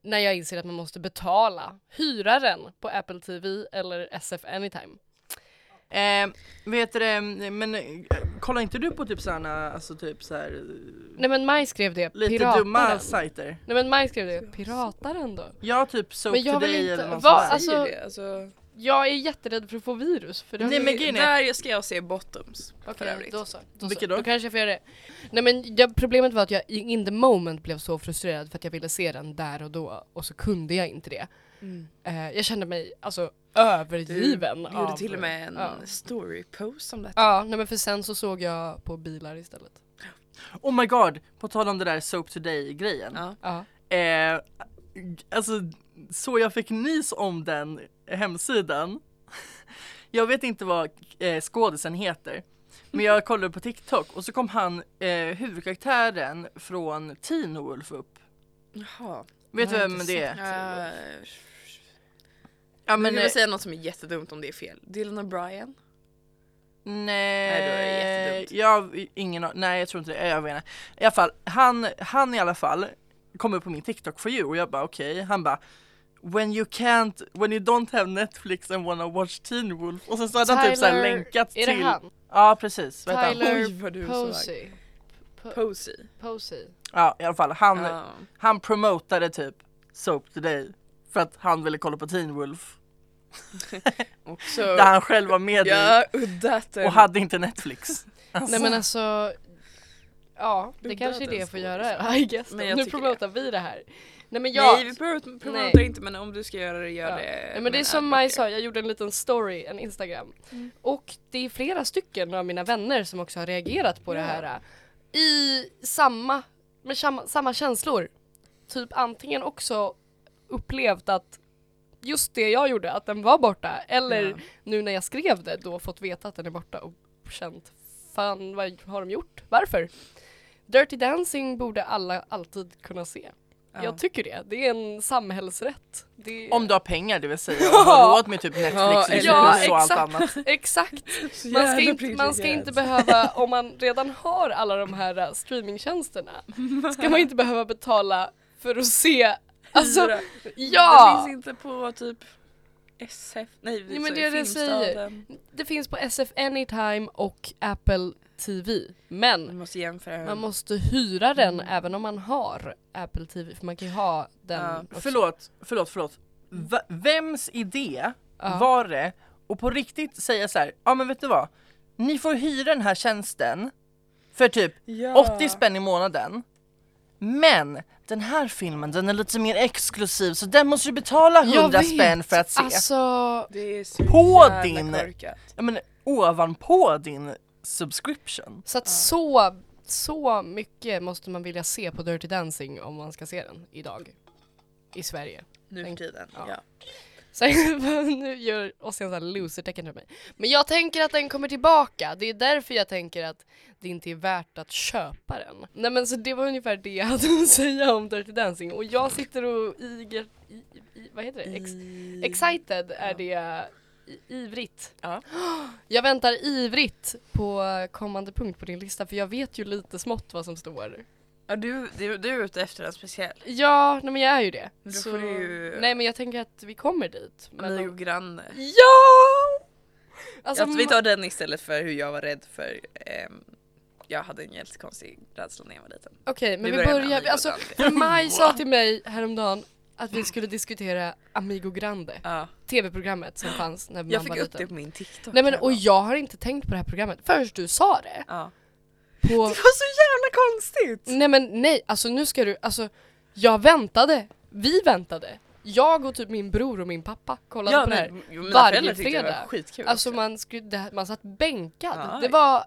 Speaker 1: när jag inser att man måste betala hyra den på Apple TV eller SF Anytime.
Speaker 2: Eh, vet du det, men eh, kollar inte du på typ såhär, alltså typ såhär
Speaker 1: Nej men Maj skrev det,
Speaker 2: lite
Speaker 1: pirata
Speaker 2: dumma
Speaker 1: den.
Speaker 2: sajter?
Speaker 1: Nej men Maj skrev det, pirata den då.
Speaker 2: Ja typ Soap
Speaker 1: Men jag vill
Speaker 2: Today
Speaker 1: inte-
Speaker 2: eller något
Speaker 1: vad-
Speaker 2: sånt där.
Speaker 1: alltså-
Speaker 3: Säger det, alltså.
Speaker 1: Jag är jätterädd för att få virus. För det har
Speaker 2: Nej,
Speaker 1: ju-
Speaker 2: men grejen är-
Speaker 3: Där ska jag se Bottoms för
Speaker 1: Okej,
Speaker 3: övrigt.
Speaker 1: då så. Då, så.
Speaker 2: Vilket
Speaker 1: då
Speaker 2: då?
Speaker 1: kanske jag får göra det. Nej men det, problemet var att jag i- in the moment blev så frustrerad för att jag ville se den där och då och så kunde jag inte det.
Speaker 3: Mm.
Speaker 1: Eh, jag kände mig alltså övergiven
Speaker 3: Du
Speaker 1: av...
Speaker 3: gjorde till och med en
Speaker 1: Ja.
Speaker 3: story-post om detta.
Speaker 1: Ja, nej men för sen så såg jag på bilar istället.
Speaker 2: Oh my god, på tal om det där Soap Today grejen.
Speaker 3: Ja.
Speaker 1: Ja.
Speaker 2: Eh, alltså, så jag fick nys om den hemsidan. Jag vet inte vad eh, skådisen heter. Men jag kollade på TikTok och så kom han, eh, huvudkaraktären från Teen Wolf upp.
Speaker 3: Jaha.
Speaker 2: Vet du
Speaker 1: Jag har
Speaker 2: vem
Speaker 1: inte
Speaker 2: det
Speaker 1: sett.
Speaker 2: är?
Speaker 3: Uh,
Speaker 2: Ja
Speaker 3: men
Speaker 2: men
Speaker 3: jag vill
Speaker 2: eh,
Speaker 3: säga något som är jättedumt om det är fel. Dylan O'Brien.
Speaker 2: nej,
Speaker 3: då är det jättedumt.
Speaker 2: jag, ingen, a- nej jag tror inte det, jag vet inte. I alla fall, han, han i alla fall kom upp på min TikTok for you och jag bara okej, han bara When you can't, when you don't have Netflix and wanna watch Teen Wolf och sen så hade han typ såhär
Speaker 1: Tyler-
Speaker 2: länkat
Speaker 1: Är
Speaker 2: till
Speaker 1: det han?
Speaker 2: Ja precis, vad heter han?
Speaker 1: Tyler
Speaker 3: Oj, vad du är så
Speaker 1: Posey. Po-
Speaker 3: Posey.
Speaker 1: Posey.
Speaker 2: Ja i alla fall, han,
Speaker 3: Ja.
Speaker 2: han promotade typ Soap Today för att han ville kolla på Teen Wolf.
Speaker 3: Också,
Speaker 2: Där han själv var med i
Speaker 3: ja, udda att den-
Speaker 2: och hade inte Netflix.
Speaker 1: Nej men alltså Ja, det
Speaker 3: Udda
Speaker 1: kanske är
Speaker 3: att
Speaker 1: det
Speaker 3: ens
Speaker 1: jag får
Speaker 3: gå
Speaker 1: göra I guess.
Speaker 3: Men jag
Speaker 1: Nu
Speaker 3: tycker
Speaker 1: promotar vi det här Nej men jag
Speaker 3: Nej vi promot- promotar
Speaker 1: Nej.
Speaker 3: inte men om du ska göra det, gör
Speaker 1: Ja.
Speaker 3: det
Speaker 1: Nej, men
Speaker 3: med
Speaker 1: det är som
Speaker 3: adblocker.
Speaker 1: Maj sa, jag gjorde en liten story, en Instagram. Och det är flera stycken av mina vänner som också har reagerat på det här. äh, I samma, med samma, samma känslor. Typ antingen också upplevt att just det jag gjorde, att den var borta. Eller
Speaker 3: Ja.
Speaker 1: nu när jag skrev det då fått veta att den är borta och känt fan vad har de gjort? Varför? Dirty Dancing borde alla alltid kunna se.
Speaker 3: Ja.
Speaker 1: Jag tycker det. Det är en samhällsrätt. Det är...
Speaker 2: Om du har pengar det vill säga och har råd med typ
Speaker 3: Ja,
Speaker 2: Netflix, Disney
Speaker 1: ja,
Speaker 2: Plus och allt
Speaker 1: exakt.
Speaker 2: annat.
Speaker 1: Exakt.
Speaker 3: Så
Speaker 1: Man ska,
Speaker 3: jävla
Speaker 1: inte, man ska
Speaker 3: privilegierad.
Speaker 1: inte behöva, om man redan har alla de här äh, streamingtjänsterna, ska man inte behöva betala för att se Alltså,
Speaker 3: Hyra. Det
Speaker 1: ja!
Speaker 3: finns inte på typ SF, nej
Speaker 1: Jo, men
Speaker 3: så
Speaker 1: det är det jag
Speaker 3: Filmstaden.
Speaker 1: säger. Det finns på SF Anytime och Apple TV. Men
Speaker 3: Man måste jämföra.
Speaker 1: man måste hyra den
Speaker 3: Mm.
Speaker 1: även om man har Apple TV, för man kan ju ha den
Speaker 3: Ja,
Speaker 1: också.
Speaker 2: Förlåt, förlåt, förlåt.
Speaker 3: Mm.
Speaker 2: V vems idé
Speaker 1: Ja.
Speaker 2: var det och på riktigt säga så här, ja men vet du vad? Ni får hyra den här tjänsten för typ
Speaker 3: Ja.
Speaker 2: 80 spänn i månaden. Men den här filmen den är lite mer exklusiv så den måste du betala 100 spänn för att se.
Speaker 1: Alltså,
Speaker 3: Det är så
Speaker 2: På
Speaker 3: jävla
Speaker 2: din-
Speaker 3: korkat.
Speaker 2: Ja, men ovanpå din subscription.
Speaker 1: så att så, så mycket måste man vilja se på Dirty Dancing om man ska se den idag. I Sverige.
Speaker 3: Nu för
Speaker 1: Tänk-
Speaker 3: tiden.
Speaker 1: ja.
Speaker 3: Ja.
Speaker 1: Så, nu gör Ossian såhär loser-tecken till mig. Men jag tänker att den kommer tillbaka. Det är därför jag tänker att det inte är värt att köpa den. Nej men så det var ungefär det jag hade att säga om Dirty Dancing. Och jag sitter och iger... I, i, vad heter det? Ex, excited är det i, ivrigt.
Speaker 3: Ja.
Speaker 1: Jag väntar ivrigt på kommande punkt på din lista för jag vet ju lite smått vad som står.
Speaker 3: Ja, du, du, du är ute efter en speciell.
Speaker 1: Ja, nej men jag är ju det.
Speaker 3: Men då får du ju-
Speaker 1: Nej men jag tänker att vi kommer dit. Men
Speaker 3: Amigo Grande.
Speaker 1: Ja! Alltså,
Speaker 3: Att vi tar den istället för hur jag var rädd för ehm, jag hade en jättekonstig rädsla när jag var liten.
Speaker 1: ma- Okej, men
Speaker 3: vi
Speaker 1: vi
Speaker 3: börjar med
Speaker 1: börjar,
Speaker 3: Amigo
Speaker 1: alltså Maj sa till mig häromdagen att vi skulle diskutera Amigo Grande,
Speaker 3: Ja.
Speaker 1: tv-programmet som fanns när man
Speaker 3: Jag fick
Speaker 1: var
Speaker 3: upp det på
Speaker 1: liten.
Speaker 3: min TikTok.
Speaker 1: Nej men
Speaker 3: häromdagen.
Speaker 1: och jag har inte tänkt på det här programmet förrän du sa det.
Speaker 3: Ja. Mm,
Speaker 1: På,
Speaker 3: Det var så jävla konstigt!
Speaker 1: nej men nej, alltså nu ska du, alltså jag väntade, vi väntade. Jag och typ min bror och min pappa kollade på det här. varje fredag.
Speaker 3: skitkul.
Speaker 1: Alltså
Speaker 3: också.
Speaker 1: man, skulle, det, här- man satt bänkad.
Speaker 3: Ja.
Speaker 1: Det var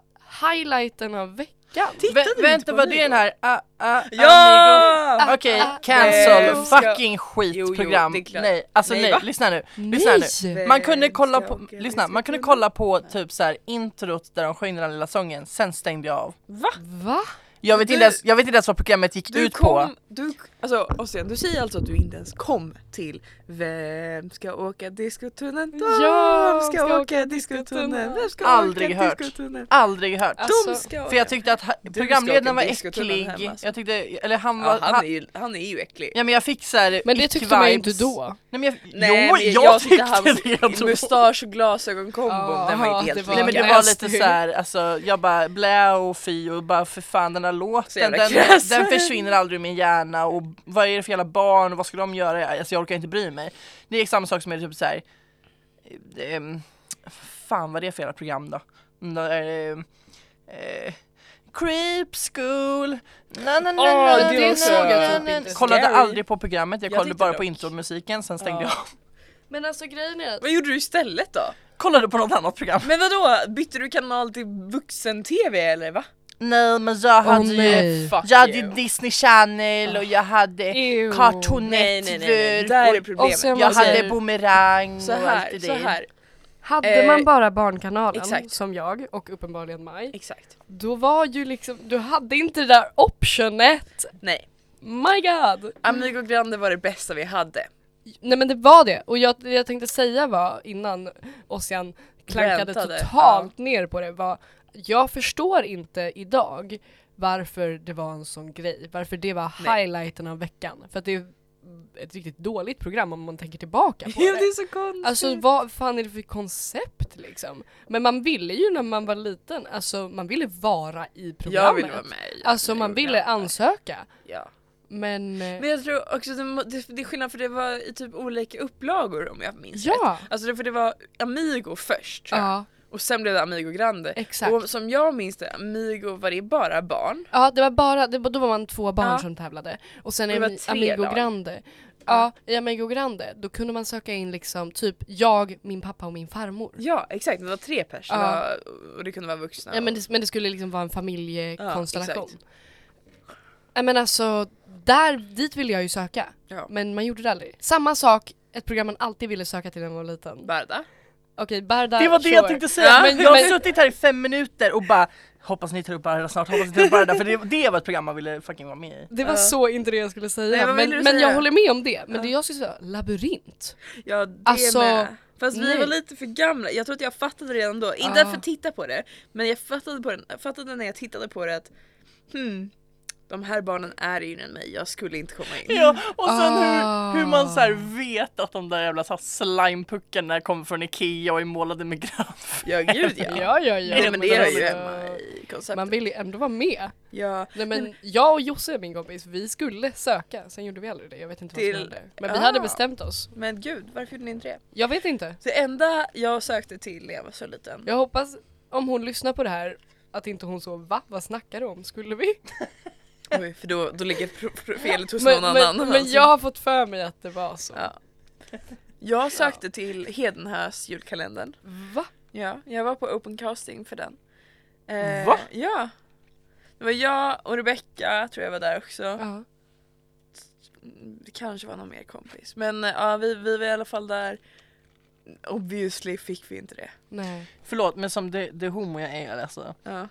Speaker 1: highlighten av veckan.
Speaker 2: Vä
Speaker 3: Tittade du inte
Speaker 2: vänta,
Speaker 3: på
Speaker 2: var
Speaker 3: mig
Speaker 2: det den
Speaker 3: då?
Speaker 2: här... Ah, ah,
Speaker 3: Ja!
Speaker 2: Amigo? Okej,
Speaker 1: Ah, ah,
Speaker 2: cancel.
Speaker 3: nej.
Speaker 2: Fucking
Speaker 3: Jo, jo,
Speaker 2: skitprogram.
Speaker 3: det är klart.
Speaker 2: nej, alltså
Speaker 3: Nej,
Speaker 2: nej,
Speaker 3: va?
Speaker 2: lyssna nu. Lyssna nu.
Speaker 1: Nej!
Speaker 2: Man kunde
Speaker 3: Vem
Speaker 2: kolla
Speaker 3: Eh, ska
Speaker 2: på,
Speaker 3: åka
Speaker 2: lyssna, man kunde
Speaker 3: bussen?
Speaker 2: kolla på typ så här introt där de sjöng den här lilla sången, sen stängde jag av.
Speaker 3: Va?
Speaker 1: Va?
Speaker 2: Jag vet,
Speaker 3: Du-
Speaker 2: inte, ens, jag vet inte ens vad programmet gick
Speaker 3: Du
Speaker 2: ut på.
Speaker 3: kom, du, alltså Ossian, du säger alltså att du inte ens kom till Vem ska åka diskotunneln? De
Speaker 1: Ja,
Speaker 3: ska, åka, diskotunneln? Vem ska
Speaker 2: Aldrig
Speaker 3: åka
Speaker 2: hört.
Speaker 3: diskotunneln?
Speaker 2: Aldrig hört.
Speaker 1: Alltså-
Speaker 3: De ska åka.
Speaker 2: För jag tyckte att ha-
Speaker 3: ska åka
Speaker 2: programledaren var
Speaker 3: diskotunneln
Speaker 2: äcklig.
Speaker 3: hem, alltså.
Speaker 2: Jag tyckte, eller han var...
Speaker 3: ja, han,
Speaker 2: han-
Speaker 3: är ju, han är ju äcklig.
Speaker 2: Ja men jag fick såhär
Speaker 1: Men det tyckte man ju inte
Speaker 2: ick-vibes.
Speaker 1: då.
Speaker 2: Nej, men jag,
Speaker 3: Nej,
Speaker 2: jo,
Speaker 3: men
Speaker 2: jag, tyckte, det då.
Speaker 3: mustasch och glasögonkombon, den var
Speaker 1: Jaha,
Speaker 3: inte
Speaker 1: det
Speaker 3: helt
Speaker 1: var-
Speaker 2: Nej men det
Speaker 1: Ja.
Speaker 2: var
Speaker 1: Yes,
Speaker 2: lite
Speaker 1: det-
Speaker 2: såhär, alltså jag bara blä och fy och bara för fan den här låten
Speaker 3: jävla
Speaker 2: den,
Speaker 3: krass.
Speaker 2: den försvinner aldrig ur min hjärna och vad är det för jävla barn och vad ska de göra? Alltså jag orkar inte bry mig. Det är samma sak som är typ såhär, ehm, fan vad är det för jävla program då? Nå- ehm, eh, Creep school, na, na, na,
Speaker 1: Åh,
Speaker 2: na,
Speaker 1: det
Speaker 2: na,
Speaker 1: såg jag
Speaker 2: na,
Speaker 1: typ
Speaker 2: na,
Speaker 1: inte.
Speaker 2: na. Kollade
Speaker 3: Scary.
Speaker 2: aldrig på programmet, jag
Speaker 3: Jag
Speaker 2: kollade
Speaker 3: tyckte
Speaker 2: bara
Speaker 3: dock.
Speaker 2: på intromusiken sen stängde jag av.
Speaker 1: Men alltså grejen är att
Speaker 3: Vad gjorde du istället då?
Speaker 2: Kollade på något annat program.
Speaker 3: Men vadå, bytte du kanal till vuxen-tv eller va? Eh,
Speaker 2: Nej men jag hade ju
Speaker 1: nej.
Speaker 3: Fuck
Speaker 2: Jag hade
Speaker 3: you. Ah.
Speaker 2: Disney Channel och jag hade
Speaker 1: Ew.
Speaker 2: Cartoon
Speaker 3: Nej nej nej,
Speaker 2: Network
Speaker 3: nej. där är
Speaker 1: och
Speaker 3: problemet.
Speaker 1: sen
Speaker 2: och jag
Speaker 1: var det
Speaker 2: hade Boomerang
Speaker 3: så
Speaker 2: och allt
Speaker 3: här,
Speaker 2: det
Speaker 3: så
Speaker 2: där.
Speaker 3: här.
Speaker 1: hade
Speaker 3: Eh,
Speaker 1: man bara Barnkanalen
Speaker 3: exakt.
Speaker 1: som jag och uppenbarligen Maj,
Speaker 3: Exakt.
Speaker 1: då var ju liksom, du hade inte det där optionet.
Speaker 3: Nej.
Speaker 1: My god!
Speaker 3: Amigo Grande var det bästa vi hade.
Speaker 1: Nej men det var det och jag, det jag tänkte säga var innan Ossian klankade
Speaker 3: Väntade,
Speaker 1: totalt ner på det var jag förstår inte idag varför det var en sån grej, varför det var
Speaker 3: Nej.
Speaker 1: highlighten av veckan. För att det ett riktigt dåligt program om man tänker tillbaka på
Speaker 3: Ja,
Speaker 1: det.
Speaker 3: är så konstigt.
Speaker 1: Alltså vad fan är det för koncept liksom? Men man ville ju när man var liten, alltså man ville vara i programmet.
Speaker 3: jag vill vara med i
Speaker 1: Alltså man ville
Speaker 3: programmet.
Speaker 1: ansöka.
Speaker 3: Ja.
Speaker 1: Men, eh,
Speaker 3: Men jag tror också det, må- det, det är skillnad för det var i typ olika upplagor om jag minns rätt.
Speaker 1: ja.
Speaker 3: Alltså det, för det var Amigo först tror jag.
Speaker 1: Ja,
Speaker 3: och sen blev det Amigo Grande.
Speaker 1: exakt.
Speaker 3: Och som jag minns det, Amigo var det bara barn.
Speaker 1: Ja, det var bara, det, var- då var man två barn
Speaker 3: Ja.
Speaker 1: som tävlade. Och sen
Speaker 3: Och det var
Speaker 1: i
Speaker 3: tre
Speaker 1: Amigo
Speaker 3: lag.
Speaker 1: Grande. Ja,
Speaker 3: Ja.
Speaker 1: i Amigo Grande, då kunde man söka in liksom typ jag, min pappa och min farmor.
Speaker 3: Ja exakt, det var tre pers
Speaker 1: Ja.
Speaker 3: det var, och det kunde vara vuxna.
Speaker 1: Ja, men,
Speaker 3: och-
Speaker 1: det, men det skulle liksom vara en familjekonstellation.
Speaker 3: Ja, exakt.
Speaker 1: Ja, men alltså, där, dit ville jag ju söka.
Speaker 3: ja.
Speaker 1: Men man gjorde det aldrig. Samma sak, ett program man alltid ville söka till när man var liten.
Speaker 3: Barda.
Speaker 1: Okej, Barda,
Speaker 2: Det var det
Speaker 1: sure.
Speaker 2: jag tänkte säga!
Speaker 1: Ja, men-
Speaker 2: jag har
Speaker 1: men-
Speaker 2: suttit här i fem minuter och bara Hoppas ni tar upp Arda snart, hoppas ni tar upp Arda för det, det var ett program man ville fucking vara med i.
Speaker 1: Det var
Speaker 3: Ja.
Speaker 1: så inte det jag skulle säga.
Speaker 3: Nej, vad ville
Speaker 1: men
Speaker 3: du
Speaker 1: men
Speaker 3: säga?
Speaker 1: jag håller med om det. Men
Speaker 3: Ja.
Speaker 1: det jag skulle säga, labyrint.
Speaker 3: Ja det
Speaker 1: Alltså,
Speaker 3: med. Fast vi
Speaker 1: nej.
Speaker 3: var lite för gamla, jag tror att jag fattade redan då, inte
Speaker 1: Ja.
Speaker 3: för att titta på det, men jag fattade, på den, fattade när jag tittade på det att hmm, de här barnen är yngre än mig, jag skulle inte komma in.
Speaker 2: Ja, och sen
Speaker 1: Ah.
Speaker 2: hur, hur man så här vet att de där jävla så här slimepuckarna kommer från Ikea och är målade med grönt.
Speaker 3: Ja gud ja.
Speaker 1: Ja, ja, ja.
Speaker 3: Nej, men det är ju
Speaker 1: alltså,
Speaker 3: hemma i konceptet.
Speaker 1: Man vill ju ändå vara med.
Speaker 3: Ja.
Speaker 1: Nej men jag och Josse, min kompis, vi skulle söka, sen gjorde vi aldrig det. Jag vet inte vad
Speaker 3: Till-
Speaker 1: som hände. Men vi
Speaker 3: Ah.
Speaker 1: hade bestämt oss.
Speaker 3: Men gud, varför gjorde ni inte det?
Speaker 1: Jag vet inte.
Speaker 3: Det enda jag sökte till när jag var så liten.
Speaker 1: Jag hoppas, om hon lyssnar på det här, att inte hon så va? Vad snackar du om? Skulle vi?
Speaker 3: Oj, för då, då ligger pro- pro- felet hos
Speaker 1: Men,
Speaker 3: någon
Speaker 1: men,
Speaker 3: annan.
Speaker 1: men
Speaker 3: alltså.
Speaker 1: jag har fått för mig att det var så.
Speaker 3: Ja. Jag sökte till Hedenhös julkalendern.
Speaker 1: Va?
Speaker 3: Ja, jag var på open casting för den. Eh,
Speaker 2: Va?
Speaker 3: Ja. Det var jag och Rebecca tror jag var där också.
Speaker 1: Ja.
Speaker 3: Mm, Det kanske var någon mer kompis. Men eh, ja, vi, vi var i alla fall där. Obviously fick vi inte det.
Speaker 1: Nej.
Speaker 2: Förlåt men som det, det homo jag är alltså.
Speaker 3: Ja.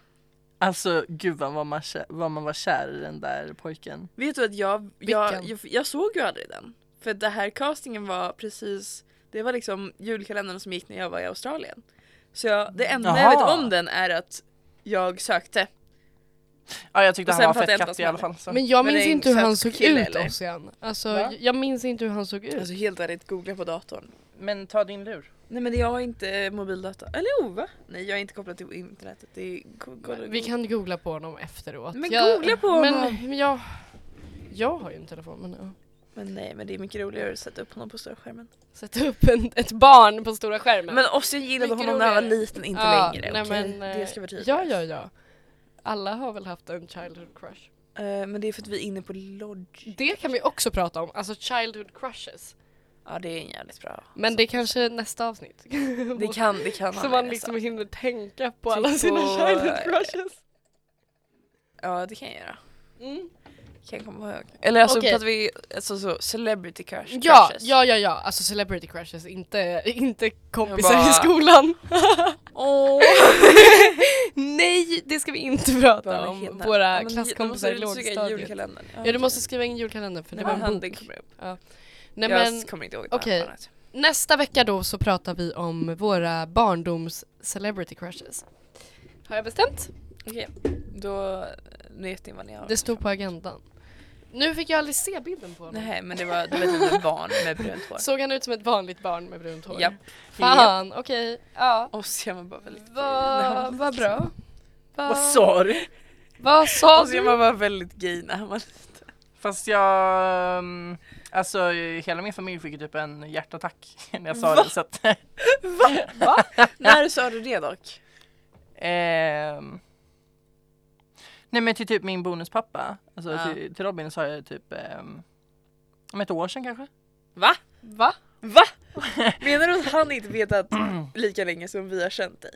Speaker 2: Alltså gud vad man, var kär, vad man var kär i den där pojken.
Speaker 3: Vet du att jag, jag,
Speaker 1: Vilken?
Speaker 3: jag, jag såg ju aldrig den. För det här castingen var precis, det var liksom julkalendern som gick när jag var i Australien. Så jag, det enda jag
Speaker 2: Jaha.
Speaker 3: vet om den är att jag sökte.
Speaker 2: Ja jag tyckte
Speaker 3: Och
Speaker 2: han
Speaker 3: sen
Speaker 2: var
Speaker 3: fattar jag
Speaker 2: fett
Speaker 3: inte vad
Speaker 2: katt
Speaker 3: som
Speaker 2: i alla
Speaker 3: hände.
Speaker 2: fall. Så.
Speaker 1: Men jag
Speaker 3: Men det
Speaker 1: minns
Speaker 3: är
Speaker 1: inte
Speaker 3: en
Speaker 1: hur han såg
Speaker 3: söt kille,
Speaker 1: ut
Speaker 3: eller?
Speaker 1: Ossian. Alltså
Speaker 2: Va?
Speaker 1: jag- jag minns inte hur han såg ut.
Speaker 3: Alltså helt ärligt, googla på datorn.
Speaker 2: Men ta din lur.
Speaker 3: Nej men jag har inte mobildata. Eller jo va? Nej jag är inte kopplad till internetet. Det är, go- go-
Speaker 1: Men Vi kan googla på honom efteråt.
Speaker 3: Men googla på honom.
Speaker 1: Men jag, jag har ju en telefon men ja.
Speaker 3: Men nej men det är mycket roligare att sätta upp honom på stora skärmen.
Speaker 1: Sätta upp en, ett barn på stora skärmen.
Speaker 3: Men Ossi gillade
Speaker 1: Mycket
Speaker 3: honom när han var
Speaker 1: roligare.
Speaker 3: liten, inte
Speaker 1: Ja,
Speaker 3: längre.
Speaker 1: nej,
Speaker 3: okej?
Speaker 1: men, eh,
Speaker 3: det ska vara tydligt.
Speaker 1: Ja, ja, ja. Alla har väl haft en childhood crush.
Speaker 3: Eh, men det är för att vi är inne på Lodge.
Speaker 1: Det kan vi också prata om, alltså childhood crushes.
Speaker 3: Ja det är en jävligt bra.
Speaker 1: Men det är kanske nästa avsnitt.
Speaker 3: Det kan, det kan alltså.
Speaker 1: Så man
Speaker 3: användas,
Speaker 1: liksom
Speaker 3: ja.
Speaker 1: hinner tänka på eh,
Speaker 3: Typ
Speaker 1: alla sina
Speaker 3: på-
Speaker 1: childhood crushes.
Speaker 3: Ja det kan jag göra.
Speaker 1: Mm.
Speaker 3: Kan jag komma ihåg. Eller alltså
Speaker 1: Okej.
Speaker 3: pratar vi alltså, så celebrity crush,
Speaker 1: Ja,
Speaker 3: crushes?
Speaker 1: ja, ja, ja, alltså celebrity crushes, inte, inte kompisar
Speaker 3: Jag bara-
Speaker 1: i skolan.
Speaker 3: Åh!
Speaker 1: Nej, det ska vi inte
Speaker 3: Bara
Speaker 1: prata om.
Speaker 3: hinna.
Speaker 1: Våra
Speaker 3: Ja, men
Speaker 1: klasskompisar i
Speaker 3: du måste söka
Speaker 1: lågstadiet.
Speaker 3: julkalendern.
Speaker 1: Ja, du måste skriva in julkalendern för det
Speaker 3: skriva
Speaker 1: var en
Speaker 3: handen
Speaker 1: bok.
Speaker 3: kommer upp.
Speaker 1: Nej,
Speaker 3: jag
Speaker 1: men,
Speaker 3: kommer inte ihåg
Speaker 1: okej.
Speaker 3: något annat.
Speaker 1: Nästa vecka då så pratar vi om våra barndoms celebrity crushes. Har jag bestämt?
Speaker 3: Okej, då eh, vet ni vad ni har.
Speaker 1: Det står på agendan. Nu fick jag aldrig se bilden på honom.
Speaker 3: Nej men det var, det var ett litet barn med brunt hår.
Speaker 1: Såg han ut som ett vanligt barn med brunt hår?
Speaker 3: Japp.
Speaker 1: Fan, okej. Ja.
Speaker 3: Och så var bara väldigt
Speaker 1: Vad va bra. Va-
Speaker 2: Vad sa du?
Speaker 1: Vad sa
Speaker 3: Och så
Speaker 1: du?
Speaker 3: var bara väldigt gay när han var liten.
Speaker 2: Fast jag, mm, alltså hela min familj fick ju typ en hjärtattack när jag sa det så att
Speaker 3: När sa du det dock?
Speaker 2: Ehm. Nej men till typ min bonuspappa, alltså
Speaker 3: Ja.
Speaker 2: till, till Robin sa jag typ ehm, om ett år sedan kanske?
Speaker 3: Va?
Speaker 1: Va?
Speaker 3: Va? Menar du att han inte vetat lika länge som vi har känt dig?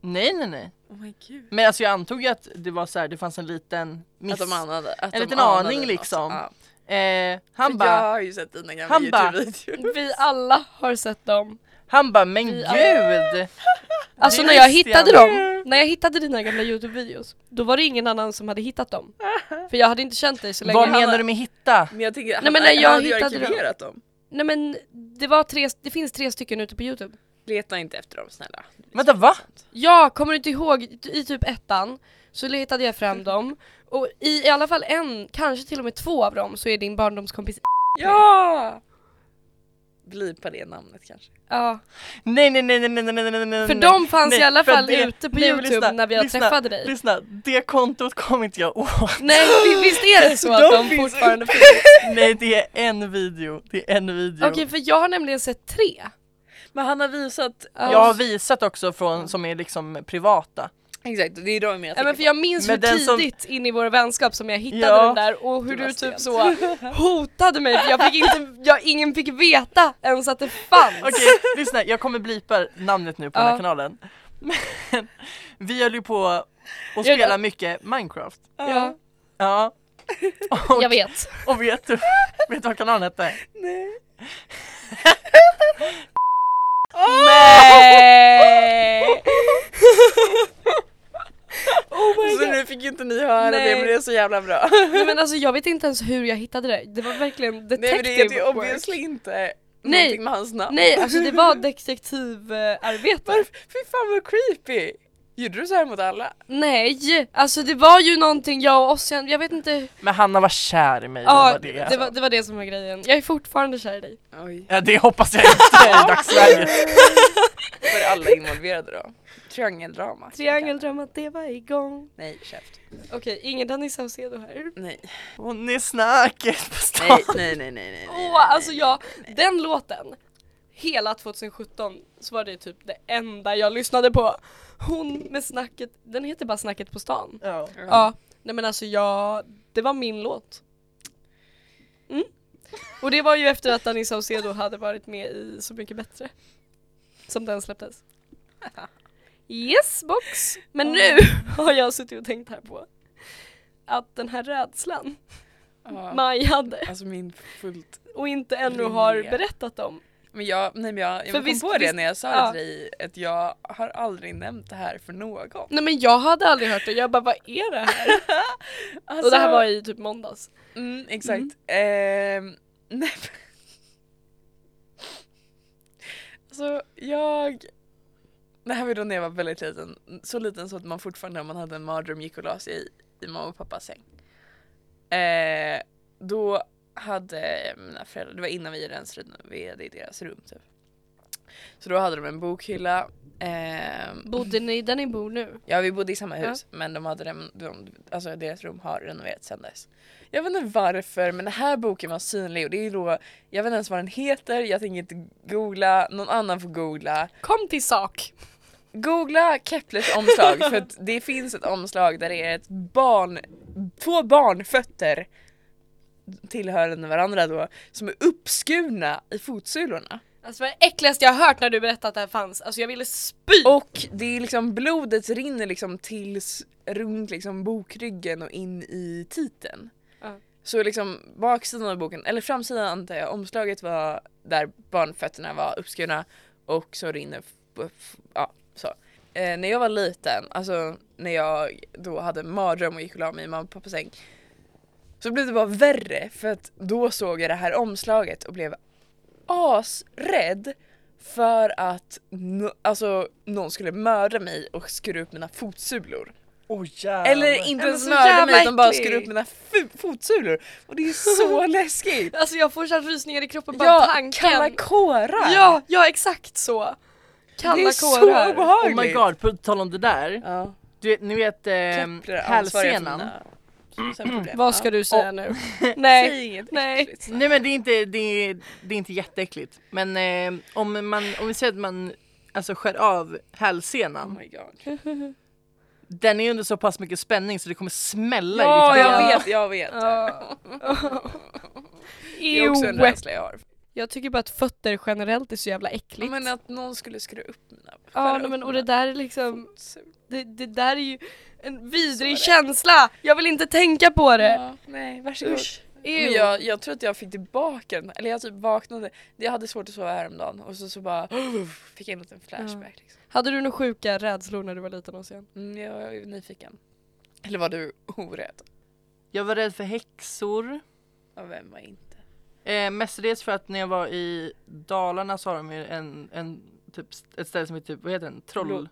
Speaker 2: Nej nej nej.
Speaker 3: Oh my gud.
Speaker 2: Men alltså jag antog ju att det var så här, det fanns en liten miss.
Speaker 3: Att de anade, att
Speaker 2: En
Speaker 3: de
Speaker 2: liten
Speaker 3: anade
Speaker 2: aning
Speaker 3: något.
Speaker 2: liksom.
Speaker 3: Ja.
Speaker 2: Eh, han
Speaker 3: För Jag
Speaker 2: bara,
Speaker 3: har ju sett dina gamla
Speaker 2: Han bara-
Speaker 3: Youtube-videor.
Speaker 1: Vi alla har sett dem.
Speaker 2: han bara men
Speaker 1: Vi-
Speaker 2: gud!
Speaker 1: Alltså
Speaker 2: Det
Speaker 1: när jag
Speaker 2: visste
Speaker 1: hittade
Speaker 2: jag.
Speaker 1: dem, när jag hittade dina gamla Youtube-videos, då var det ingen annan som hade hittat dem. För jag hade inte känt dig så länge.
Speaker 2: Vad
Speaker 1: Han-
Speaker 2: menar du med hitta?
Speaker 3: Men jag tänker, han,
Speaker 1: Nej, men när
Speaker 3: han
Speaker 1: jag
Speaker 3: hade ju
Speaker 1: hittade dem.
Speaker 3: arkiverat dem.
Speaker 1: Nej men det, var tre, det finns tre stycken ute på youtube.
Speaker 3: Leta inte efter dem snälla.
Speaker 2: Vänta va?
Speaker 1: Ja, kommer du inte ihåg? I typ ettan Så letade jag fram dem och i, i alla fall en, kanske till och med två av dem så är din barndomskompis
Speaker 3: Ja! Blipa det namnet kanske.
Speaker 1: Ja,
Speaker 2: Nej, nej, nej, nej, nej, nej, nej, nej, nej.
Speaker 1: för de fanns
Speaker 2: nej,
Speaker 1: i alla
Speaker 2: för
Speaker 1: fall
Speaker 2: det-
Speaker 1: ute på
Speaker 2: nej, men
Speaker 1: youtube
Speaker 2: lyssna,
Speaker 1: när jag
Speaker 2: lyssna,
Speaker 1: träffade dig
Speaker 2: Lyssna, det kontot kommer inte jag åt.
Speaker 1: Nej vi- visst är det så att
Speaker 3: de
Speaker 1: de
Speaker 3: finns
Speaker 1: fortfarande finns?
Speaker 2: Nej, det är en video. Det är en video.
Speaker 1: Okej för jag har nämligen sett tre
Speaker 3: Men han har visat...
Speaker 1: Ja.
Speaker 2: Jag har visat också från som är liksom privata.
Speaker 3: Exakt, det är de jag
Speaker 1: Ja,
Speaker 3: tänker
Speaker 1: men för jag minns
Speaker 2: Men
Speaker 1: hur
Speaker 2: den som-
Speaker 1: tidigt in i vår vänskap som jag hittade
Speaker 2: Ja.
Speaker 1: den där och hur
Speaker 3: Det
Speaker 1: du
Speaker 3: var
Speaker 1: typ
Speaker 3: stelt.
Speaker 1: så hotade mig för jag fick inte, jag, ingen fick veta ens att det fanns.
Speaker 2: Okej, lyssna, jag kommer blipa namnet nu på den här
Speaker 1: Ja.
Speaker 2: kanalen. Men vi höll ju på
Speaker 1: Ja,
Speaker 2: och spela
Speaker 1: ja.
Speaker 2: mycket Minecraft.
Speaker 1: Ja,
Speaker 2: Ja. Och,
Speaker 1: jag vet.
Speaker 2: och vet du vet du vad kanalen hette?
Speaker 3: Nej.
Speaker 1: Nej! oh my
Speaker 3: Så
Speaker 1: god.
Speaker 3: nu fick ju inte ni höra
Speaker 1: Nej.
Speaker 3: det men det är så jävla bra.
Speaker 1: Nej, men alltså jag vet inte ens hur jag hittade det. Det var verkligen
Speaker 3: Nej men
Speaker 1: detective
Speaker 3: det, det är
Speaker 1: work.
Speaker 3: obviously inte
Speaker 1: Nej.
Speaker 3: någonting med hans namn.
Speaker 1: Nej, alltså det var detektivarbete.
Speaker 3: Varför? Fy fan vad creepy! Gjorde du så här mot alla?
Speaker 1: Nej, alltså det var ju någonting jag och Ossian, jag vet inte.
Speaker 2: Men Hanna var kär i mig, det alltså.
Speaker 1: Ja,
Speaker 2: var
Speaker 1: det
Speaker 2: det.
Speaker 1: var, det var det som var grejen. Jag är fortfarande kär i dig.
Speaker 3: Oj.
Speaker 2: Ja, det hoppas jag inte i dagsläget.
Speaker 3: Var alla involverade då? Triangeldrama.
Speaker 1: Triangeldrömmat, det var igång.
Speaker 3: Nej, käft.
Speaker 1: Okej, ingen Danny Saucedo här.
Speaker 3: Nej.
Speaker 2: Hon är snacket på
Speaker 3: Nej,
Speaker 2: stan.
Speaker 3: nej, nej, nej, nej.
Speaker 1: Åh, alltså jag, den låten, hela 2017 så var det typ det enda jag lyssnade på. Hon med snacket, den heter bara Snacket på stan.
Speaker 2: Ja.
Speaker 1: Ja, nej men alltså jag, det var min låt. Mm. Och det var ju efter att Danny Saucedo hade varit med i Så mycket bättre. Som den släpptes. Yes box! Men nu har jag suttit och tänkt här på att den här rädslan
Speaker 3: Ja.
Speaker 1: Maj hade
Speaker 3: Alltså min fullt...
Speaker 1: och inte ännu har
Speaker 3: Rimliga.
Speaker 1: berättat om.
Speaker 3: Men jag, nej men jag, jag
Speaker 1: För
Speaker 3: kom
Speaker 1: visst-
Speaker 3: på det
Speaker 1: visst-
Speaker 3: när jag sa
Speaker 1: ja.
Speaker 3: till dig att jag har aldrig nämnt det här för någon.
Speaker 1: Nej men jag hade aldrig hört det, jag bara vad är det här?
Speaker 3: Alltså,
Speaker 1: Och det här var i typ måndags.
Speaker 3: Mm, exakt. Ehm, nej men- Alltså jag... Det här var då när jag var väldigt liten. Så liten så att man fortfarande om man hade en mardröm gick och la sig i, i mamma och pappas säng. Eh, då hade mina föräldrar, det var innan vi rensade i deras rum typ. Så då hade de en bokhylla. ehm,
Speaker 1: Bodde ni där ni bor nu?
Speaker 3: Ja vi bodde i samma hus men de hade rem- de, alltså deras rum har renoverats sen dess. Jag vet inte varför men den här boken var synlig och det är då, jag vet inte ens vad den heter, jag tänker inte googla, någon annan får googla.
Speaker 1: Kom till sak!
Speaker 3: Googla Keplers omslag för att det finns ett omslag där det är ett barn, två barnfötter tillhörande varandra då som är uppskurna i fotsulorna.
Speaker 1: Alltså det var det äckligaste jag har hört när du berättade att det här fanns, alltså jag ville spy!
Speaker 3: Och det är liksom blodet rinner liksom tills runt liksom bokryggen och in i titeln.
Speaker 1: Ja.
Speaker 3: Så liksom baksidan av boken, eller framsidan antar jag, omslaget var där barnfötterna var uppskurna och så rinner, f- f- ja så. Eh, när jag var liten, alltså när jag då hade en mardröm och gick och la mig i mamma och pappas säng så blev det bara värre för att då såg jag det här omslaget och blev asrädd för att no, alltså, någon skulle mörda mig och skura upp mina fotsulor.
Speaker 2: Oh, jävlar.
Speaker 3: Eller inte
Speaker 1: men
Speaker 3: ens
Speaker 1: så
Speaker 3: mörda
Speaker 1: jävla
Speaker 3: mig utan bara
Speaker 1: äckligt.
Speaker 3: skura upp mina fu- fotsulor. Och det är så läskigt!
Speaker 1: Alltså jag får så här rysningar i kroppen bara
Speaker 3: Ja,
Speaker 1: tanken.
Speaker 3: kalla kårar!
Speaker 1: Ja, ja exakt så! Kalla
Speaker 3: det är så
Speaker 1: kårar.
Speaker 2: Oh
Speaker 3: obehagligt!
Speaker 2: my god, på tal om det där.
Speaker 3: Ja.
Speaker 2: Du, vet- ni vet ehm,
Speaker 3: Kläpplar är ansvariga för
Speaker 2: hälsenan.
Speaker 3: mina- sen problem.
Speaker 1: Vad ska
Speaker 3: Ja.
Speaker 1: du säga nu?
Speaker 3: Säg
Speaker 1: Nej,
Speaker 3: inget
Speaker 1: nej.
Speaker 3: äckligt.
Speaker 2: Nej men det är inte, det är, det är inte jätteäckligt. Men eh, om, man, om vi säger att man alltså, skär av
Speaker 3: Oh
Speaker 2: hälsenan.
Speaker 3: my god.
Speaker 2: Den är under så pass mycket spänning så det kommer smälla i
Speaker 3: Ja
Speaker 2: ditt
Speaker 3: jag
Speaker 2: ben.
Speaker 3: vet, jag vet.
Speaker 1: Ja.
Speaker 3: Det är också en
Speaker 1: Ew.
Speaker 3: rädsla jag har.
Speaker 1: Jag tycker bara att fötter generellt är så jävla äckligt.
Speaker 3: Men att någon skulle skruva upp mina
Speaker 1: Ja,
Speaker 3: skära
Speaker 1: nej,
Speaker 3: upp
Speaker 1: men och det
Speaker 3: mina
Speaker 1: där är liksom,
Speaker 3: fotsulor.
Speaker 1: det, det där är ju en
Speaker 3: är
Speaker 1: vidrig
Speaker 3: det.
Speaker 1: känsla! Jag vill inte tänka på det!
Speaker 3: Ja, nej, varsågod.
Speaker 1: Usch!
Speaker 3: Men
Speaker 1: Ew.
Speaker 3: jag, jag tror att jag fick tillbaka den, eller jag typ vaknade, jag hade svårt att sova häromdagen och så, så bara fick jag en liten flashback. Liksom.
Speaker 1: Hade du några sjuka rädslor när du var liten och sen?
Speaker 3: Mm, jag var ju nyfiken. Eller var du orädd?
Speaker 2: Jag var rädd för häxor.
Speaker 3: Ja, vem var inte?
Speaker 2: Eh, mestadels för att när jag var i Dalarna så har de ju en, en, typ, st- ett ställe som heter typ, vad heter den? Troll...
Speaker 3: Blå-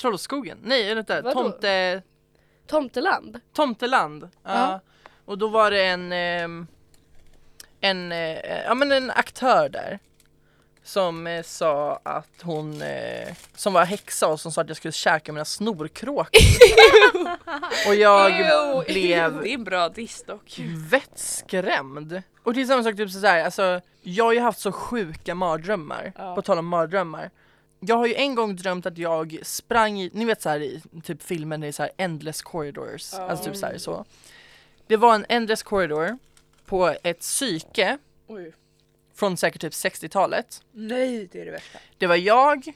Speaker 2: Trollskogen? Nej, vänta.
Speaker 1: Vadå?
Speaker 2: Tomte...
Speaker 1: Tomteland?
Speaker 2: Tomteland.
Speaker 1: Ja.
Speaker 2: Ja. Och då var det en, ehm, en, eh, ja, men en aktör där som eh, sa att hon, eh, som var häxa och som sa att jag skulle käka mina snorkråkor. och jag
Speaker 1: Ew.
Speaker 2: blev
Speaker 3: Det är en bra diss dock.
Speaker 2: vettskrämd. Och till samma sak, typ så här, alltså, jag har ju haft så sjuka mardrömmar,
Speaker 3: Ja.
Speaker 2: på tal om mardrömmar. Jag har ju en gång drömt att jag sprang i, ni vet så här i typ filmen det är så här endless corridors,
Speaker 3: Ja.
Speaker 2: alltså typ så här så. Det var en endless corridor på ett psyke
Speaker 3: Oj.
Speaker 2: från säkert typ 60-talet.
Speaker 3: Nej det är det värsta.
Speaker 2: Det var jag,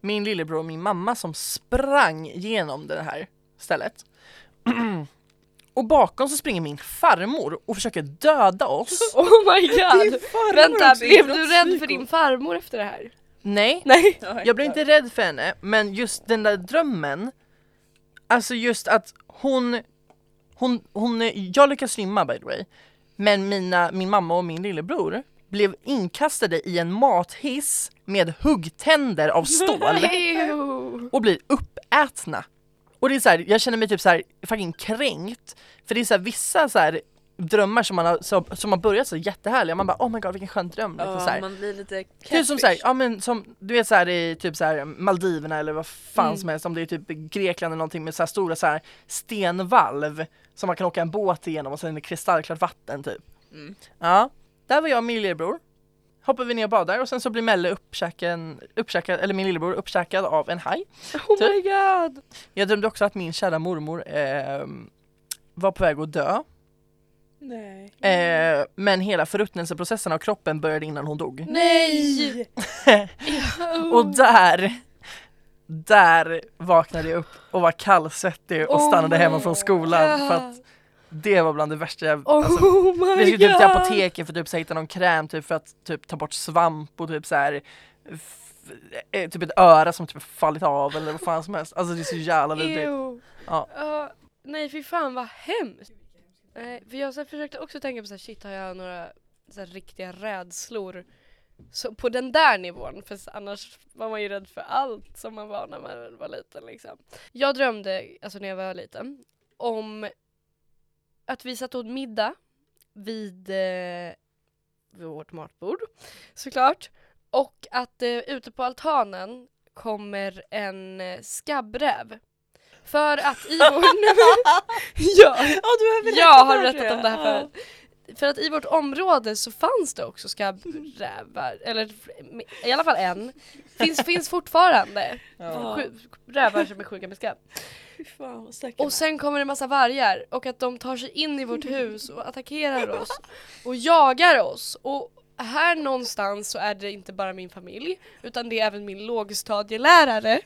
Speaker 2: min lillebror och min mamma som sprang genom det här stället. och bakom så springer min farmor och försöker döda oss.
Speaker 1: Oh my god!
Speaker 3: farmor
Speaker 1: Vänta,
Speaker 3: också,
Speaker 1: blev
Speaker 3: idrott-
Speaker 1: du rädd
Speaker 3: psyko.
Speaker 1: för din farmor efter det här?
Speaker 2: Nej,
Speaker 1: Nej.
Speaker 3: Ja,
Speaker 2: jag blev
Speaker 3: exakt.
Speaker 2: inte rädd för henne, men just den där drömmen. Alltså just att hon, hon, hon jag lyckas simma by the way. Men mina, min mamma och min lillebror blev inkastade i en mathiss med huggtänder av stål.
Speaker 1: Ew.
Speaker 2: och blir uppätna. Och det är så här, jag känner mig typ så här fucking kränkt. För det är så här, vissa så här drömmar som man har, som, som har börjat så jättehärliga, man bara oh my god vilken skön dröm. Liksom, så
Speaker 3: Ja,
Speaker 2: här.
Speaker 3: man blir lite
Speaker 2: Typ som såhär,
Speaker 3: catfish.
Speaker 2: ja men som du vet såhär i typ såhär Maldiverna eller vad fan
Speaker 1: Mm.
Speaker 2: som helst om det är typ Grekland eller någonting med såhär stora såhär stenvalv som man kan åka en båt igenom och sen är det kristallklart vatten typ.
Speaker 3: Mm.
Speaker 2: Ja, där var jag och min lillebror. Hoppar vi ner och badar och sen så blir Melle uppkäken, uppkäkad, eller min lillebror uppkäkad av en haj.
Speaker 1: Oh my god!
Speaker 2: Jag drömde också att min kära mormor eh, var på väg att dö.
Speaker 3: Nej.
Speaker 2: Eh, men hela förruttnelseprocessen av kroppen började innan hon dog.
Speaker 1: Nej!
Speaker 2: Och där, där vaknade jag upp och var kallsvettig och
Speaker 1: Oh
Speaker 2: stannade
Speaker 1: my
Speaker 2: hemma från skolan för att det var bland det värsta jag...
Speaker 1: Oh
Speaker 2: Alltså,
Speaker 1: my
Speaker 2: vi skulle typ
Speaker 1: god!
Speaker 2: till apoteket för att typ, så här, hitta någon kräm typ, för att typ, ta bort svamp och typ så här f- eh, Typ ett öra som typ fallit av eller vad fan som helst. Alltså det är så jävla vidrigt.
Speaker 1: Ew.
Speaker 2: Ja.
Speaker 1: Ja, nej fy fan vad hemskt. Nej, för jag så här, försökte också tänka på så här, shit har jag några så här, riktiga rädslor så, på den där nivån? För s- annars var man ju rädd för allt som man var när man var liten liksom. Jag drömde, alltså när jag var liten, om att vi satt och åt middag vid, eh, vid vårt matbord såklart. Och att eh, ute på altanen kommer en eh, skabbräv. För att i vår... ja,
Speaker 3: Ja du har berättat
Speaker 1: jag har
Speaker 3: det här, tror
Speaker 1: berättat om det här
Speaker 3: jag.
Speaker 1: förut. För att i vårt område så fanns det också skabbrävar, eller i alla fall en. Finns, finns fortfarande.
Speaker 3: Ja.
Speaker 1: Sju, rävar som är sjuka med skabb.
Speaker 3: Fy fan vad stackarna.
Speaker 1: Och sen kommer det en massa vargar och att de tar sig in i vårt hus och attackerar oss och jagar oss. Och här någonstans så är det inte bara min familj utan det är även min lågstadielärare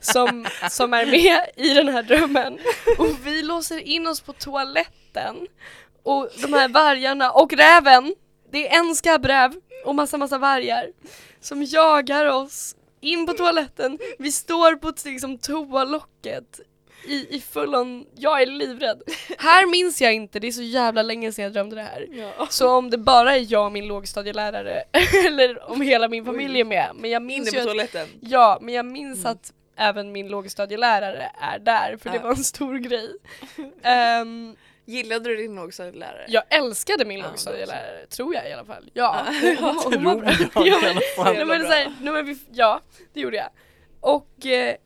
Speaker 1: som, som är med i den här drömmen. Och vi låser in oss på toaletten och de här vargarna och räven, det är en skabbräv och massa massa vargar som jagar oss in på toaletten. Vi står på ett liksom, toalocket i, i full on, jag är livrädd. Här minns jag inte, det är så jävla länge sedan jag drömde det här.
Speaker 3: Ja.
Speaker 1: Så om det bara är jag och min lågstadielärare eller om hela min familj är med. Men jag
Speaker 3: Inne
Speaker 1: minns ju
Speaker 3: på
Speaker 1: att,
Speaker 3: toaletten. Mm.
Speaker 1: ja, men jag minns att även min lågstadielärare är där för det
Speaker 3: Ja.
Speaker 1: var en stor grej. Ehm,
Speaker 3: Gillade du din lågstadielärare?
Speaker 1: jag älskade min
Speaker 3: Ja,
Speaker 1: lågstadielärare, tror jag i alla fall. Ja,
Speaker 3: Ja.
Speaker 1: hon var bra.
Speaker 2: jag i
Speaker 1: Ja, men-
Speaker 2: alla fall.
Speaker 1: Nej,
Speaker 3: Jävla
Speaker 1: men
Speaker 3: bra.
Speaker 1: så här, nej, men vi, ja, det gjorde jag. Och eh,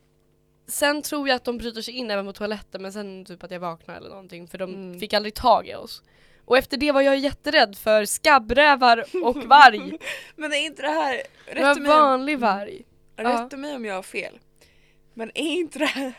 Speaker 1: sen tror jag att de bryter sig in även på toaletten men sen typ att jag vaknar eller någonting för de
Speaker 3: Mm.
Speaker 1: fick aldrig tag i oss. Och efter det var jag jätterädd för skabbrävar och varg.
Speaker 3: Men är inte det här,
Speaker 1: det var
Speaker 3: rätta
Speaker 1: en
Speaker 3: mig, om-
Speaker 1: vanlig varg.
Speaker 3: rätta mig om jag har fel, men är inte det här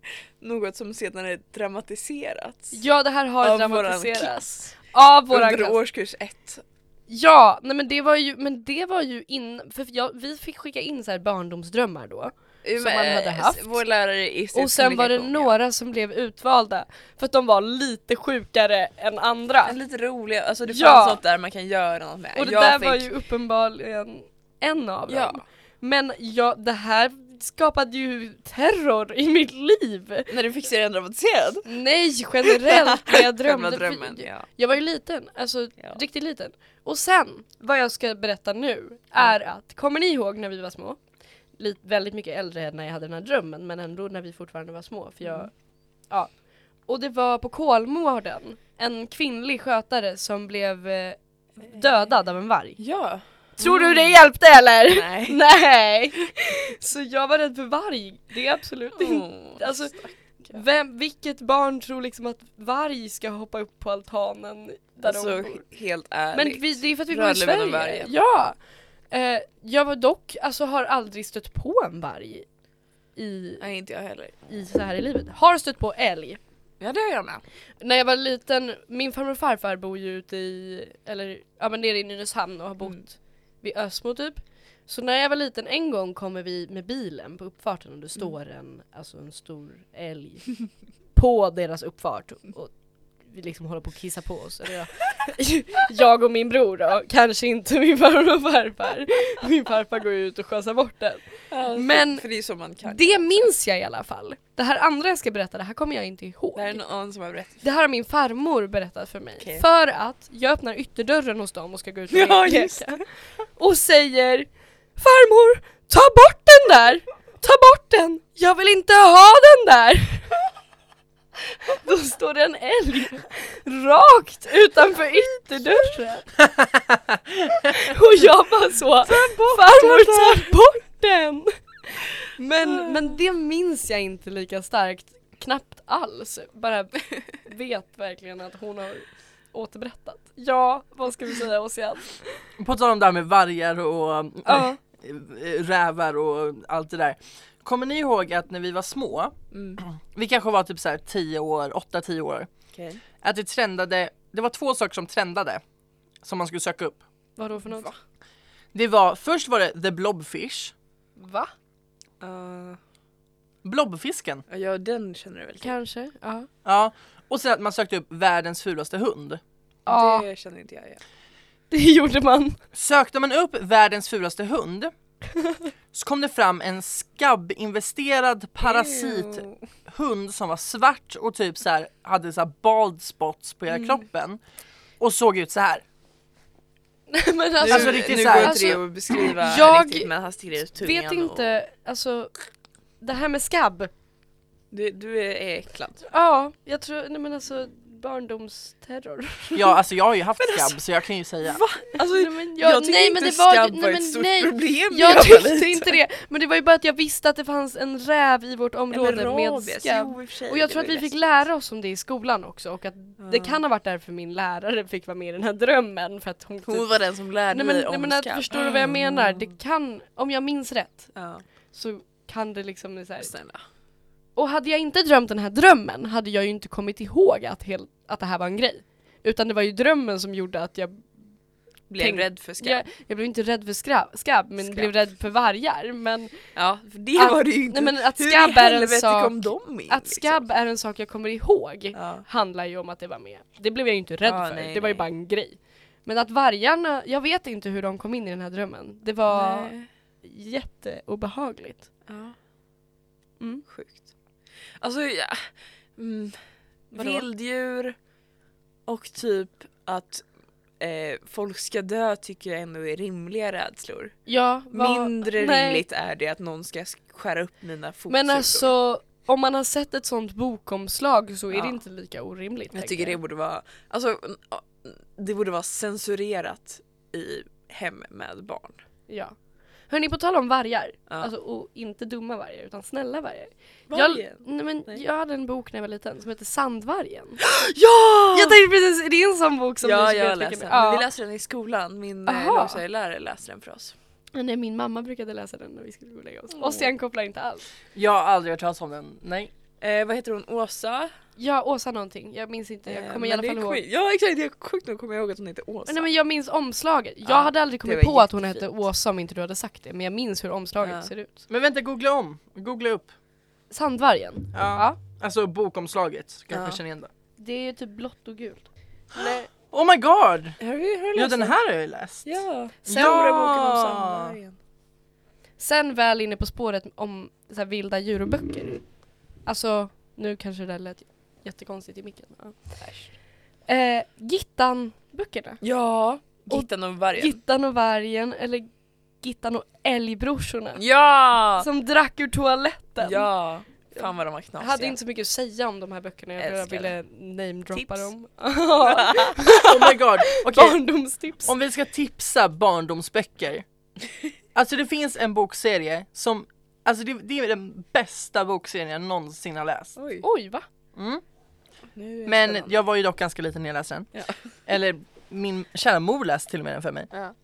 Speaker 3: något som sedan är dramatiserats?
Speaker 1: Ja det här har
Speaker 3: Av våran
Speaker 1: dramatiserats. Av våran klass.
Speaker 3: Under årskurs ett.
Speaker 1: Ja, nej men det var ju, men det var ju in, för jag, vi fick skicka in så här barndomsdrömmar då.
Speaker 3: Som
Speaker 1: man hade haft.
Speaker 3: Eh, Vår lärare i
Speaker 1: Och sen var det
Speaker 3: kommunikation,
Speaker 1: några som blev utvalda för att de var lite sjukare än andra.
Speaker 3: ja. Men Lite roliga, alltså det
Speaker 1: Ja.
Speaker 3: fanns något där man kan göra något med.
Speaker 1: Och det
Speaker 3: Jag
Speaker 1: där
Speaker 3: fick-
Speaker 1: var ju uppenbarligen en av
Speaker 3: Ja.
Speaker 1: dem. Men ja, det här skapade ju terror i mitt liv.
Speaker 3: När du fick se den dramatiserad.
Speaker 1: Nej, generellt när jag
Speaker 3: Drömde,
Speaker 1: drömde.
Speaker 3: drömmen.
Speaker 1: För
Speaker 3: Ja.
Speaker 1: Jag var ju liten, alltså
Speaker 3: Ja.
Speaker 1: riktigt liten. Och sen, vad jag ska berätta nu är att, kommer ni ihåg när vi var små?
Speaker 3: Mm.
Speaker 1: Lite, väldigt mycket äldre än när jag hade den här drömmen men ändå när vi fortfarande var små för jag, ja. Och det var på Kolmården, en kvinnlig skötare som blev eh, dödad av en varg.
Speaker 3: Ja.
Speaker 1: Tror du det hjälpte eller?
Speaker 3: Mm. Nej.
Speaker 1: Nej! Så jag var rädd för varg, det är absolut inte.
Speaker 3: Oh.
Speaker 1: Alltså, vem, vilket barn tror liksom att varg ska hoppa upp på altanen där de
Speaker 3: Alltså
Speaker 1: bor?
Speaker 3: helt
Speaker 1: Men
Speaker 3: ärligt.
Speaker 1: vi, det är för att vi bor i
Speaker 3: Rödluvan och
Speaker 1: Sverige.
Speaker 3: vargen.
Speaker 1: Ja! Eh, jag var dock, alltså har aldrig stött på en varg i,
Speaker 3: Nej inte jag heller.
Speaker 1: i så här i livet. Har stött på älg.
Speaker 3: Ja det har jag med.
Speaker 1: När jag var liten, min farmor och farfar bor ju ute i, eller ja men nere i Nynäshamn och har bott
Speaker 3: Mm.
Speaker 1: vid Ösmo typ. Så när jag var liten en gång kommer vi med bilen på uppfarten och det
Speaker 3: Mm.
Speaker 1: står en, alltså en stor älg på deras uppfart och vi liksom håller på att kissa på oss. Eller jag, jag och min bror då, kanske inte min farmor och farfar. Min farfar går ju ut och skjutsar bort den. Men-
Speaker 3: För det är så man kan.
Speaker 1: Det minns jag i alla fall. Det här andra jag ska berätta, det här kommer jag inte ihåg.
Speaker 3: Det här är någon som har berättat.
Speaker 1: Det här har min farmor berättat för mig.
Speaker 3: Okej.
Speaker 1: För att jag öppnar ytterdörren hos dem och ska gå ut och
Speaker 3: Ja,
Speaker 1: leka.
Speaker 3: just
Speaker 1: Och säger Farmor, ta bort den där! Ta bort den! Jag vill inte ha den där! Då står det en älg rakt utanför ytterdörren. Och jag bara så, farmor ta bort den! Men, men det minns jag inte lika starkt, knappt alls. Bara vet verkligen att hon har återberättat. Ja, vad ska vi säga Ossian?
Speaker 2: På tal om det här med vargar och
Speaker 1: Ja.
Speaker 2: eh, rävar och allt det där. Kommer ni ihåg att när vi var små,
Speaker 3: Mm.
Speaker 2: vi kanske var typ så här 10 år, 8-10 år,
Speaker 3: Okej.
Speaker 2: att det trendade, det var två saker som trendade som man skulle söka upp.
Speaker 1: Vadå för något? Va?
Speaker 2: Det var, först var det the blobfish,
Speaker 3: Uh,
Speaker 2: blobfisken.
Speaker 3: ja den känner du väl till?
Speaker 1: Kanske, ja.
Speaker 2: Ja, och sen att man sökte upp världens fulaste hund.
Speaker 1: Ja,
Speaker 3: Det känner inte jag igen.
Speaker 1: det gjorde man.
Speaker 2: Sökte man upp världens fulaste hund så kom det fram en skabbinvesterad parasithund
Speaker 3: Ew.
Speaker 2: som var svart och typ så här, hade så här bald spots på hela kroppen och såg ut så här.
Speaker 1: men
Speaker 3: Nu,
Speaker 1: alltså,
Speaker 2: Alltså, riktigt
Speaker 3: nu
Speaker 2: så
Speaker 3: går
Speaker 2: här-
Speaker 3: inte
Speaker 1: Alltså,
Speaker 3: det att beskriva
Speaker 1: jag
Speaker 3: riktigt men han sticker ut tungan
Speaker 1: vet inte, alltså det här med skabb.
Speaker 3: och... du, du är äcklad.
Speaker 1: Ja, jag tror, nej men alltså barndomsterror.
Speaker 2: Ja alltså jag har ju haft skabb så jag kan ju säga.
Speaker 3: Alltså,
Speaker 1: Nej men, jag,
Speaker 3: tycker
Speaker 1: nej,
Speaker 3: inte
Speaker 1: men det var,
Speaker 3: skabb
Speaker 1: nej,
Speaker 3: var
Speaker 1: men,
Speaker 3: ett stort
Speaker 1: nej,
Speaker 3: problem när
Speaker 1: Jag
Speaker 3: var
Speaker 1: tyckte
Speaker 3: liten.
Speaker 1: inte det, men det var ju bara att jag visste att det fanns en räv i vårt
Speaker 3: Nej, men
Speaker 1: område med
Speaker 3: rabies,
Speaker 1: skabb.
Speaker 3: jo, i och för sig,
Speaker 1: Och jag
Speaker 3: det
Speaker 1: tror att
Speaker 3: var
Speaker 1: vi
Speaker 3: ju
Speaker 1: fick
Speaker 3: läskigt.
Speaker 1: lära oss om det i skolan också och att det kan ha varit därför min lärare fick vara med i den här drömmen för att hon typ-
Speaker 3: Hon var den som lärde
Speaker 1: Nej
Speaker 3: mig
Speaker 1: men,
Speaker 3: om
Speaker 1: nej, men att,
Speaker 3: skabb. Mm.
Speaker 1: förstår du vad jag menar? Det kan, om jag minns rätt,
Speaker 3: Ja,
Speaker 1: så kan det liksom bli så här.
Speaker 3: snälla.
Speaker 1: Och hade jag inte drömt den här drömmen hade jag ju inte kommit ihåg att, hel, att det här var en grej. Utan det var ju drömmen som gjorde att jag,
Speaker 3: Blev
Speaker 1: Tänk-
Speaker 3: rädd för skabb.
Speaker 1: jag, jag blev inte rädd för skrabb, skabb men
Speaker 3: Skabb.
Speaker 1: blev rädd för vargar. Men
Speaker 3: Ja, för det
Speaker 1: Att-
Speaker 3: var det ju inte.
Speaker 1: nej, men att
Speaker 3: Hur
Speaker 1: skabb
Speaker 3: i
Speaker 1: är en
Speaker 3: helvete
Speaker 1: sak-
Speaker 3: kom de in?
Speaker 1: att skabb är en sak jag kommer ihåg
Speaker 3: Liksom? Ja.
Speaker 1: handlar ju om att det var med. Det blev jag ju inte rädd
Speaker 3: Ja,
Speaker 1: för,
Speaker 3: nej,
Speaker 1: det var ju
Speaker 3: nej.
Speaker 1: bara en grej. Men att vargarna, jag vet inte hur de kom in i den här drömmen. Det var
Speaker 3: Nej.
Speaker 1: jätteobehagligt.
Speaker 3: Ja.
Speaker 1: Mm.
Speaker 3: Sjukt. Alltså, ja. mm,
Speaker 1: Vadå?
Speaker 3: vilddjur och typ att eh, folk ska dö tycker jag ändå är rimliga rädslor.
Speaker 1: Ja, vad-
Speaker 3: Mindre
Speaker 1: nej.
Speaker 3: rimligt är det att någon ska skära upp mina typ fotsulor.
Speaker 1: Men alltså, om man har sett ett sånt bokomslag så är
Speaker 3: Ja.
Speaker 1: det inte lika orimligt.
Speaker 3: Jag
Speaker 1: tänker
Speaker 3: tycker det borde vara, alltså, n- ja, det borde vara censurerat i hem med barn.
Speaker 1: Ja. Hörni, på tal om vargar,
Speaker 3: Ja.
Speaker 1: alltså, och inte dumma vargar utan snälla vargar.
Speaker 3: Vargen?
Speaker 1: Jag, nej, men
Speaker 3: Nej.
Speaker 1: jag hade en bok när jag var liten som hette Sandvargen.
Speaker 3: Ja!
Speaker 1: Jag tänkte precis, är det en sån bok som ni
Speaker 3: ja,
Speaker 1: ska
Speaker 3: jag
Speaker 1: uttrycka
Speaker 3: läser den.
Speaker 1: med?
Speaker 3: Vi läser den i skolan. Min eh,
Speaker 1: Aha.
Speaker 3: lågstadielärare läser den för oss.
Speaker 1: Ja. Nej, min mamma brukade läsa den när vi skulle gå och lägga oss. Ossian kopplar inte alls.
Speaker 2: Jag har aldrig hört talas om den, nej.
Speaker 3: Eh, vad heter hon? Åsa?
Speaker 1: Ja, Åsa någonting. Jag minns inte, jag
Speaker 3: Eh,
Speaker 1: kommer i
Speaker 3: men
Speaker 1: alla
Speaker 3: det är
Speaker 1: fall ihåg.
Speaker 3: sjukt- Ja exakt, jag sjukt nog kommer jag ihåg att hon heter Åsa.
Speaker 1: Nej men jag minns omslaget. Jag
Speaker 3: Ja,
Speaker 1: hade aldrig kommit
Speaker 3: det var
Speaker 1: på att hon hette
Speaker 3: jättefint.
Speaker 1: Åsa om inte du hade sagt det, men jag minns hur omslaget
Speaker 3: Ja.
Speaker 1: ser ut.
Speaker 2: Men vänta googla om, googla upp.
Speaker 1: Sandvargen.
Speaker 2: Ja. Alltså bokomslaget, så kanske
Speaker 3: Ja.
Speaker 2: känner igen det.
Speaker 1: Det är ju typ blått och gult. Nej.
Speaker 2: Oh my god!
Speaker 3: Har du, har du
Speaker 2: Ja
Speaker 3: läst
Speaker 2: den här har jag ju läst.
Speaker 3: Ja,
Speaker 2: Sen-
Speaker 3: Stora
Speaker 2: Ja.
Speaker 3: boken om samlarien.
Speaker 1: Sen väl inne på spåret om så här, vilda djur och böcker. Alltså, nu kanske det där lät jättekonstigt i micken. Ja. Eh, Gittan-böckerna.
Speaker 3: Ja,
Speaker 1: Och-
Speaker 3: Gittan och vargen.
Speaker 1: Gittan och vargen, eller Gittan och älgbrorsorna.
Speaker 3: ja!
Speaker 1: Som drack ur toaletten.
Speaker 3: Ja! Fan vad de var knasiga.
Speaker 1: Jag hade inte så mycket att säga om de här böckerna, jag bara
Speaker 3: Älskar
Speaker 1: ville namedroppa
Speaker 3: Tips.
Speaker 1: dem.
Speaker 2: Oh my god! Okej,
Speaker 1: Barndomstips!
Speaker 2: om vi ska tipsa barndomsböcker. Alltså det finns en bokserie som, alltså det, det är den bästa bokserien jag någonsin har läst.
Speaker 3: Oj.
Speaker 1: Oj va?
Speaker 2: Mm.
Speaker 3: Nu är det
Speaker 2: Men
Speaker 3: spännande.
Speaker 2: jag var ju dock ganska liten när jag läste den.
Speaker 3: Ja.
Speaker 2: Eller min kära mor läste till och med den för mig.
Speaker 3: Ja.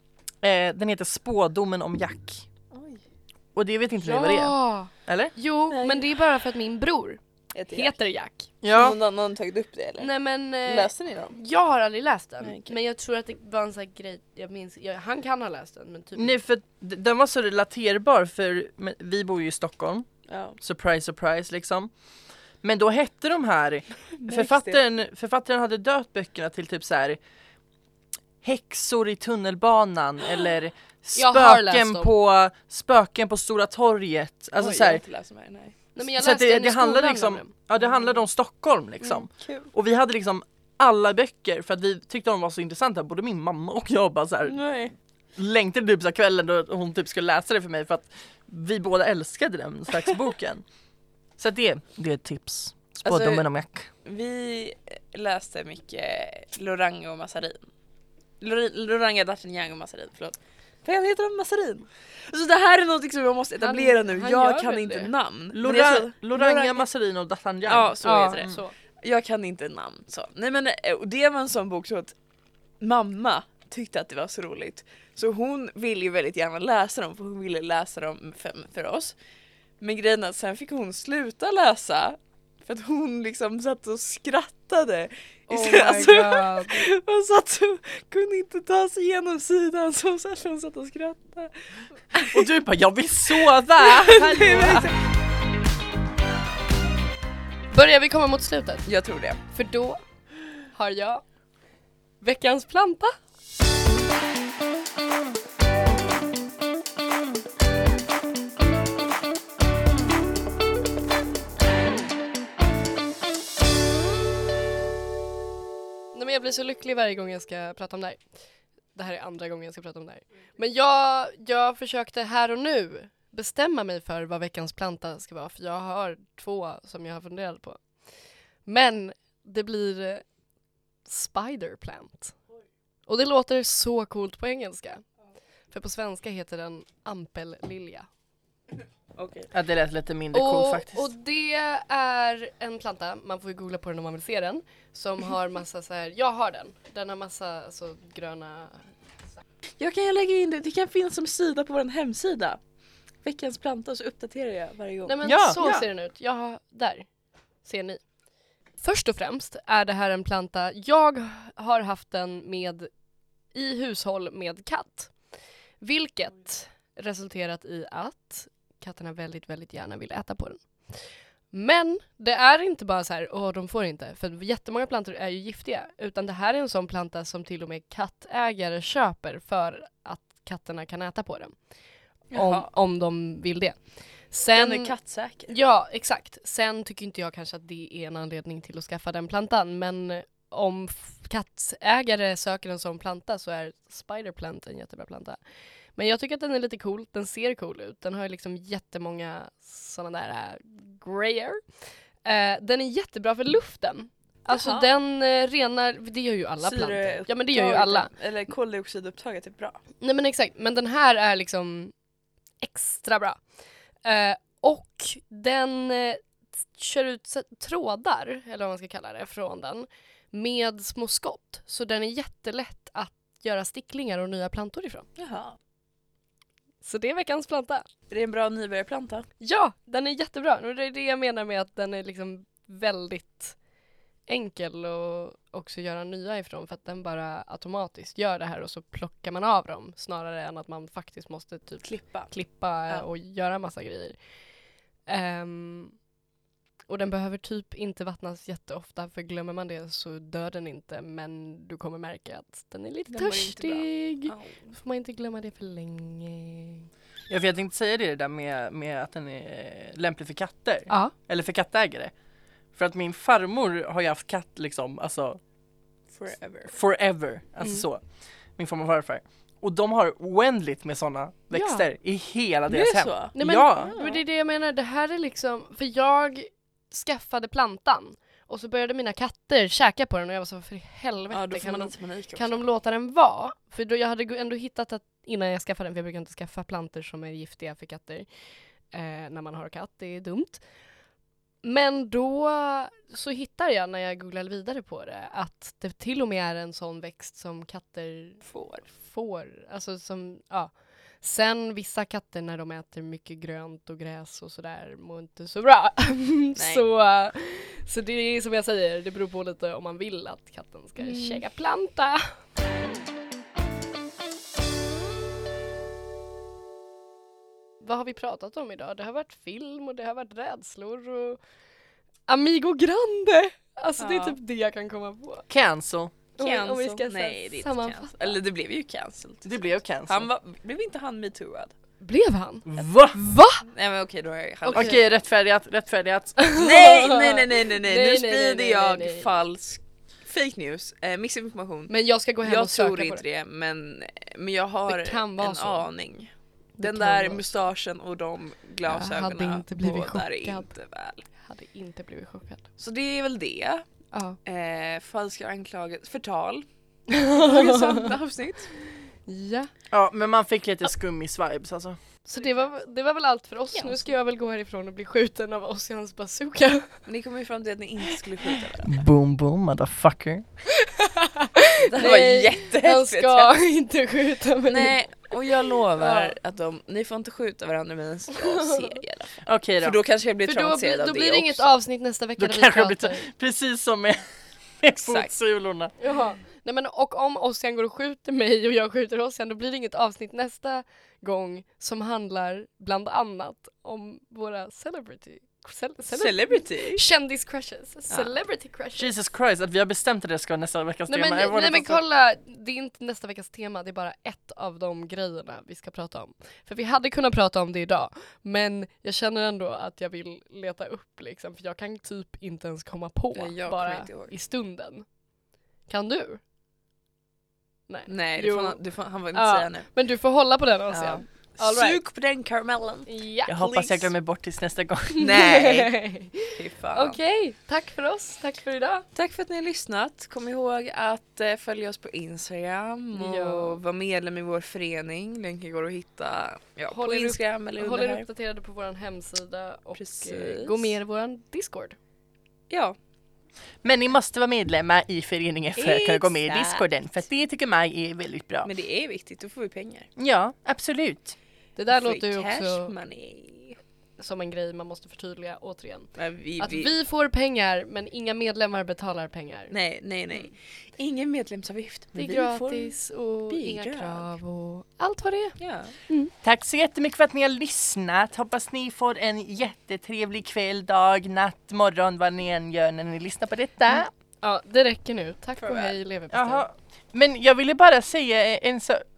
Speaker 2: Eh, den heter Spådomen om Jack.
Speaker 3: Oj.
Speaker 2: Och det vet inte ni vad det är,
Speaker 1: Ja!
Speaker 2: eller?
Speaker 1: Jo,
Speaker 3: Nej.
Speaker 1: men det är bara för att min bror heter Jack.
Speaker 3: Ja.
Speaker 2: Ja.
Speaker 3: Någon, någon tagit upp det eller?
Speaker 1: Nej men... eh,
Speaker 3: Läste ni den?
Speaker 1: Jag har aldrig läst den,
Speaker 3: Nej, okej.
Speaker 1: men jag tror att det var en sån här grej, jag minns, jag, han kan ha läst den men typ
Speaker 2: Nej för d- den var så relaterbar för men vi bor ju i Stockholm,
Speaker 3: Ja.
Speaker 2: surprise surprise liksom. Men då hette de här, författaren, författaren hade döpt böckerna till typ så här Häxor i tunnelbanan eller
Speaker 1: Jag har läst
Speaker 2: spöken
Speaker 1: dem.
Speaker 2: på, spöken på Stora torget. Alltså
Speaker 3: Oj,
Speaker 2: så
Speaker 3: jag har
Speaker 2: här,
Speaker 3: inte läst de här, nej.
Speaker 1: Nej men jag
Speaker 2: så att
Speaker 1: läste
Speaker 2: det,
Speaker 1: den i
Speaker 2: det handlade
Speaker 1: skolan
Speaker 2: liksom,
Speaker 1: nämligen.
Speaker 2: ja, det handlade om Stockholm liksom.
Speaker 1: Mm.
Speaker 3: Kul.
Speaker 2: Och vi hade liksom alla böcker för att vi tyckte de var så intressanta, både min mamma och jag bara så här,
Speaker 1: Mm.
Speaker 3: Nej.
Speaker 2: längtade typ så här kvällen då hon typ skulle läsa det för mig för att vi båda älskade den slags boken. Så att det, det är ett tips. Spådomen
Speaker 3: Alltså-
Speaker 2: om Jack.
Speaker 3: Vi läste mycket Loranga och Massarin. Lor- Loranga, D'Artagnan och Massarin, förlåt. Vad heter han? Massarin? Alltså det här är något som jag måste etablera
Speaker 1: Han-
Speaker 3: nu,
Speaker 1: han
Speaker 3: jag
Speaker 1: gör
Speaker 3: kan
Speaker 1: väl
Speaker 3: inte
Speaker 1: det?
Speaker 3: namn. Men jag
Speaker 2: Lora,
Speaker 3: tror-
Speaker 2: Loranga, Massarin och D'Artagnan.
Speaker 3: Ja, så
Speaker 1: ja,
Speaker 3: heter det.
Speaker 1: Så.
Speaker 3: Jag kan inte namn så. Nej men eh, och det var en sån bok så att mamma tyckte att det var så roligt. Så hon ville ju väldigt gärna läsa dem för hon ville läsa dem för, för oss. Men grejen är att sen fick hon sluta läsa för att hon liksom satt och skrattade.
Speaker 1: Oh my
Speaker 3: Istället- alltså,
Speaker 1: god.
Speaker 3: hon satt och kunde inte ta sig igenom sidan så hon satt, hon satt och skrattade.
Speaker 2: Och du bara jag vill sova! Hallå.
Speaker 1: Börjar vi komma mot slutet?
Speaker 3: Jag tror det.
Speaker 1: För då har jag veckans planta. Nej, men jag blir så lycklig varje gång jag ska prata om det här. Det här är andra gången jag ska prata om det här. Men jag, jag försökte här och nu bestämma mig för vad veckans planta ska vara för jag har två som jag har funderat på. Men det blir eh, spider plant. Och det låter så coolt på engelska. För på svenska heter den ampellilja.
Speaker 2: Ja, det lät lite mindre cool
Speaker 1: Och,
Speaker 2: faktiskt.
Speaker 1: och det är en planta, man får ju googla på den om man vill se den, som har massa så här, jag har den, den har massa alltså, gröna
Speaker 3: Jag kan lägga in det, det kan finnas som sida på vår hemsida. Veckans planta så uppdaterar jag varje gång.
Speaker 1: Nej men
Speaker 2: Ja,
Speaker 1: så
Speaker 2: ja.
Speaker 1: ser den ut. Ja, där ser ni. Först och främst är det här en planta, jag har haft den med i hushåll med katt. Vilket resulterat i att katterna väldigt, väldigt gärna vill äta på den. Men det är inte bara så här, åh de får inte, för jättemånga plantor är ju giftiga. Utan det här är en sån planta som till och med kattägare köper för att katterna kan äta på den. Om,
Speaker 3: Jaha.
Speaker 1: om de vill det.
Speaker 3: Den
Speaker 1: Sen,
Speaker 3: är kattsäker.
Speaker 1: Ja, exakt. Sen tycker inte jag kanske att det är en anledning till att skaffa den plantan, men om f- kattägare söker en sån planta så är spiderplant en jättebra planta. Men jag tycker att den är lite cool, den ser cool ut. Den har ju liksom jättemånga sådana där äh, grayer. Eh, den är jättebra för luften. Alltså
Speaker 3: Jaha.
Speaker 1: den eh, renar, det gör ju alla plantor. Ja men det gör ju alla.
Speaker 3: Eller koldioxidupptaget är bra.
Speaker 1: Nej men exakt, men den här är liksom extra bra. Eh, och den eh, kör ut så- trådar, eller vad man ska kalla det, från den med små skott. Så den är jättelätt att göra sticklingar och nya plantor ifrån.
Speaker 3: Jaha.
Speaker 1: Så det är veckans planta.
Speaker 3: Är det en bra nybörjarplanta?
Speaker 1: Ja, den är jättebra. Och det är det jag menar med att den är liksom väldigt enkel och också göra nya ifrån för att den bara automatiskt gör det här och så plockar man av dem snarare än att man faktiskt måste typ
Speaker 3: Klippa.
Speaker 1: klippa
Speaker 3: Ja.
Speaker 1: och göra massa grejer. Ehm, och den behöver typ inte vattnas jätteofta för glömmer man det så dör den inte men du kommer märka att den är lite
Speaker 3: Den mår inte bra.
Speaker 1: törstig.
Speaker 3: Oh.
Speaker 1: Då får man inte glömma det för länge.
Speaker 2: Ja, för jag tänkte säga det, det där med, med att den är lämplig för katter.
Speaker 1: Ja,
Speaker 2: Eller för kattägare. För att min farmor har ju haft katt liksom, alltså
Speaker 3: Forever.
Speaker 2: forever. Alltså
Speaker 1: Mm.
Speaker 2: så. Min farmor och farfar. Och de har oändligt med sådana växter i hela
Speaker 3: Det
Speaker 2: deras
Speaker 3: är
Speaker 2: hem.
Speaker 3: så?
Speaker 1: Nej, men,
Speaker 2: Ja.
Speaker 1: men det är det jag menar, det här är liksom, för jag skaffade plantan och så började mina katter käka på den och jag var så för i helvete
Speaker 3: Ja, då får
Speaker 1: kan,
Speaker 3: man
Speaker 1: de,
Speaker 3: lite panik också.
Speaker 1: kan de låta den vara? För då, jag hade gu- ändå hittat att innan jag skaffade den, för jag brukar inte skaffa plantor som är giftiga för katter eh, när man har katt, det är dumt. Men då så hittar jag när jag googlar vidare på det att det till och med är en sån växt som katter får. får. Alltså som, ja. Sen vissa katter när de äter mycket grönt och gräs och sådär mår inte så bra. så, eh, så det är som jag säger, det beror på lite om man vill att katten ska
Speaker 3: Mm.
Speaker 1: käka planta. Vad har vi pratat om idag? Det har varit film och det har varit rädslor och Amigo Grande! Alltså det är
Speaker 3: Ja.
Speaker 1: typ det jag kan komma på.
Speaker 2: Cancel.
Speaker 1: Om vi- om vi ska
Speaker 3: Cancel.
Speaker 1: så här
Speaker 3: Nej det är inte
Speaker 1: sammanfatta.
Speaker 3: cancel. Eller det blev ju cancel. till
Speaker 2: Det
Speaker 3: slut.
Speaker 2: blev cancel.
Speaker 3: han var, blev inte han metooad?
Speaker 1: Blev han?
Speaker 2: Va?
Speaker 1: Va?
Speaker 3: Nej men okej då har jag han-
Speaker 1: Okej.
Speaker 2: Okej, rättfärdigat, rättfärdigat.
Speaker 3: Nej, nej, nej, nej, nej,
Speaker 1: Nej,
Speaker 3: nej.
Speaker 1: nej,
Speaker 3: nu
Speaker 1: nej,
Speaker 3: sprider
Speaker 1: nej,
Speaker 3: jag
Speaker 1: nej, nej.
Speaker 3: falsk fake news, eh, missinformation.
Speaker 1: Men jag ska gå hem
Speaker 3: Jag
Speaker 1: och söka
Speaker 3: tror
Speaker 1: på
Speaker 3: inte
Speaker 1: det.
Speaker 3: det, men, eh, men jag har
Speaker 1: Det kan vara
Speaker 3: en
Speaker 1: så.
Speaker 3: aning. Den
Speaker 1: kan
Speaker 3: där
Speaker 1: vara så.
Speaker 3: mustaschen och de
Speaker 1: Jag
Speaker 3: glasögonen
Speaker 1: hade inte blivit
Speaker 3: båda är
Speaker 1: chockad.
Speaker 3: inte väl.
Speaker 1: Jag hade inte blivit chockad.
Speaker 3: Så det är väl det.
Speaker 1: Ja.
Speaker 3: Eh, falska anklagelser, förtal. Intressanta avsnitt.
Speaker 1: ja.
Speaker 2: Ja, men man fick lite skummis-vibes alltså.
Speaker 1: Så det var, det var väl allt för oss. Nu ska jag väl gå härifrån och bli skjuten av Ossians bazooka.
Speaker 3: Ni kom ju fram till att ni inte skulle skjuta varandra.
Speaker 2: Boom boom motherfucker.
Speaker 3: Det här var
Speaker 1: Nej, Han
Speaker 3: jättehäftigt.
Speaker 1: ska inte skjuta mig.
Speaker 3: Nej, och jag lovar att de, ni får inte skjuta varandra medan jag ser er.
Speaker 2: Okej
Speaker 3: För
Speaker 2: då.
Speaker 3: då kanske jag blir
Speaker 1: För då, blir-
Speaker 3: traumatiserad av
Speaker 1: då
Speaker 3: det
Speaker 1: blir det inget
Speaker 3: också.
Speaker 1: avsnitt nästa vecka
Speaker 2: Då
Speaker 1: där vi
Speaker 2: kanske det blir
Speaker 1: pratar.
Speaker 2: Precis som med, med
Speaker 3: Exakt.
Speaker 2: fotsulorna.
Speaker 1: Jaha. Nej men och om Ossian går och skjuter mig och jag skjuter Ossian då blir det inget avsnitt nästa gång som handlar bland annat om våra celebrity... Cel cele
Speaker 3: Celebrity?
Speaker 1: kändis crushes. Celebrity crushes.
Speaker 2: Jesus Christ, att vi har bestämt att det ska vara nästa veckas
Speaker 1: Nej
Speaker 2: tema.
Speaker 1: men,
Speaker 2: Jag var
Speaker 1: nej, men
Speaker 2: nästan så-
Speaker 1: kolla, det är inte nästa veckas tema, det är bara ett av de grejerna vi ska prata om. För vi hade kunnat prata om det idag, men jag känner ändå att jag vill leta upp liksom, för jag kan typ inte ens komma på
Speaker 3: Ja, jag
Speaker 1: bara
Speaker 3: kommer inte ihåg.
Speaker 1: i stunden. Kan du? Nej.
Speaker 3: Nej,
Speaker 1: Jo.
Speaker 3: det får han, det får, han får inte
Speaker 1: Ja.
Speaker 3: säga nu.
Speaker 1: Men du får hålla på den
Speaker 3: Ja.
Speaker 1: Ossian. All right.
Speaker 3: Sug på den karamellen.
Speaker 1: Ja.
Speaker 2: Jag hoppas jag
Speaker 3: Please.
Speaker 2: glömmer bort tills nästa gång.
Speaker 3: Nej, fy fan.
Speaker 1: Okej, tack för oss, tack för idag.
Speaker 3: Tack för att ni har lyssnat. Kom ihåg att eh, följa oss på Instagram och
Speaker 1: Ja.
Speaker 3: vara medlem i vår förening. Länken går att hitta ja,
Speaker 1: Håll
Speaker 3: på
Speaker 1: er upp-
Speaker 3: Instagram eller
Speaker 1: Håll
Speaker 3: under
Speaker 1: er
Speaker 3: här.
Speaker 1: uppdaterade på vår hemsida och eh,
Speaker 3: Precis.
Speaker 1: gå med i vår Discord.
Speaker 3: Ja,
Speaker 2: Men ni måste vara medlemmar i föreningen för att kunna gå med i
Speaker 3: Exakt.
Speaker 2: discorden. För att det tycker mig är väldigt bra.
Speaker 3: men det är viktigt. Då får vi pengar.
Speaker 2: Ja, absolut.
Speaker 1: Det där
Speaker 3: Free
Speaker 1: låter ju
Speaker 3: cash
Speaker 1: också
Speaker 3: money.
Speaker 1: som en grej man måste förtydliga återigen.
Speaker 3: Nej, vi,
Speaker 1: Att
Speaker 3: vi,
Speaker 1: vi får pengar men inga medlemmar betalar pengar.
Speaker 3: Nej, nej, nej. Ingen medlemsavgift.
Speaker 1: Mm. det är
Speaker 3: men vi
Speaker 1: gratis och inga
Speaker 3: bidrag.
Speaker 1: krav och allt vad det är.
Speaker 3: Får, ja.
Speaker 2: Tack så jättemycket för att ni har lyssnat. Hoppas ni får en jättetrevlig kväll, dag, natt, morgon, vad ni än gör när ni lyssnar på
Speaker 1: Mm.
Speaker 2: detta.
Speaker 3: Mm.
Speaker 1: Ja, det räcker nu. Tack och
Speaker 3: Farväl.
Speaker 1: hej leverpastej.
Speaker 2: Jaha. Men jag ville bara säga en sak.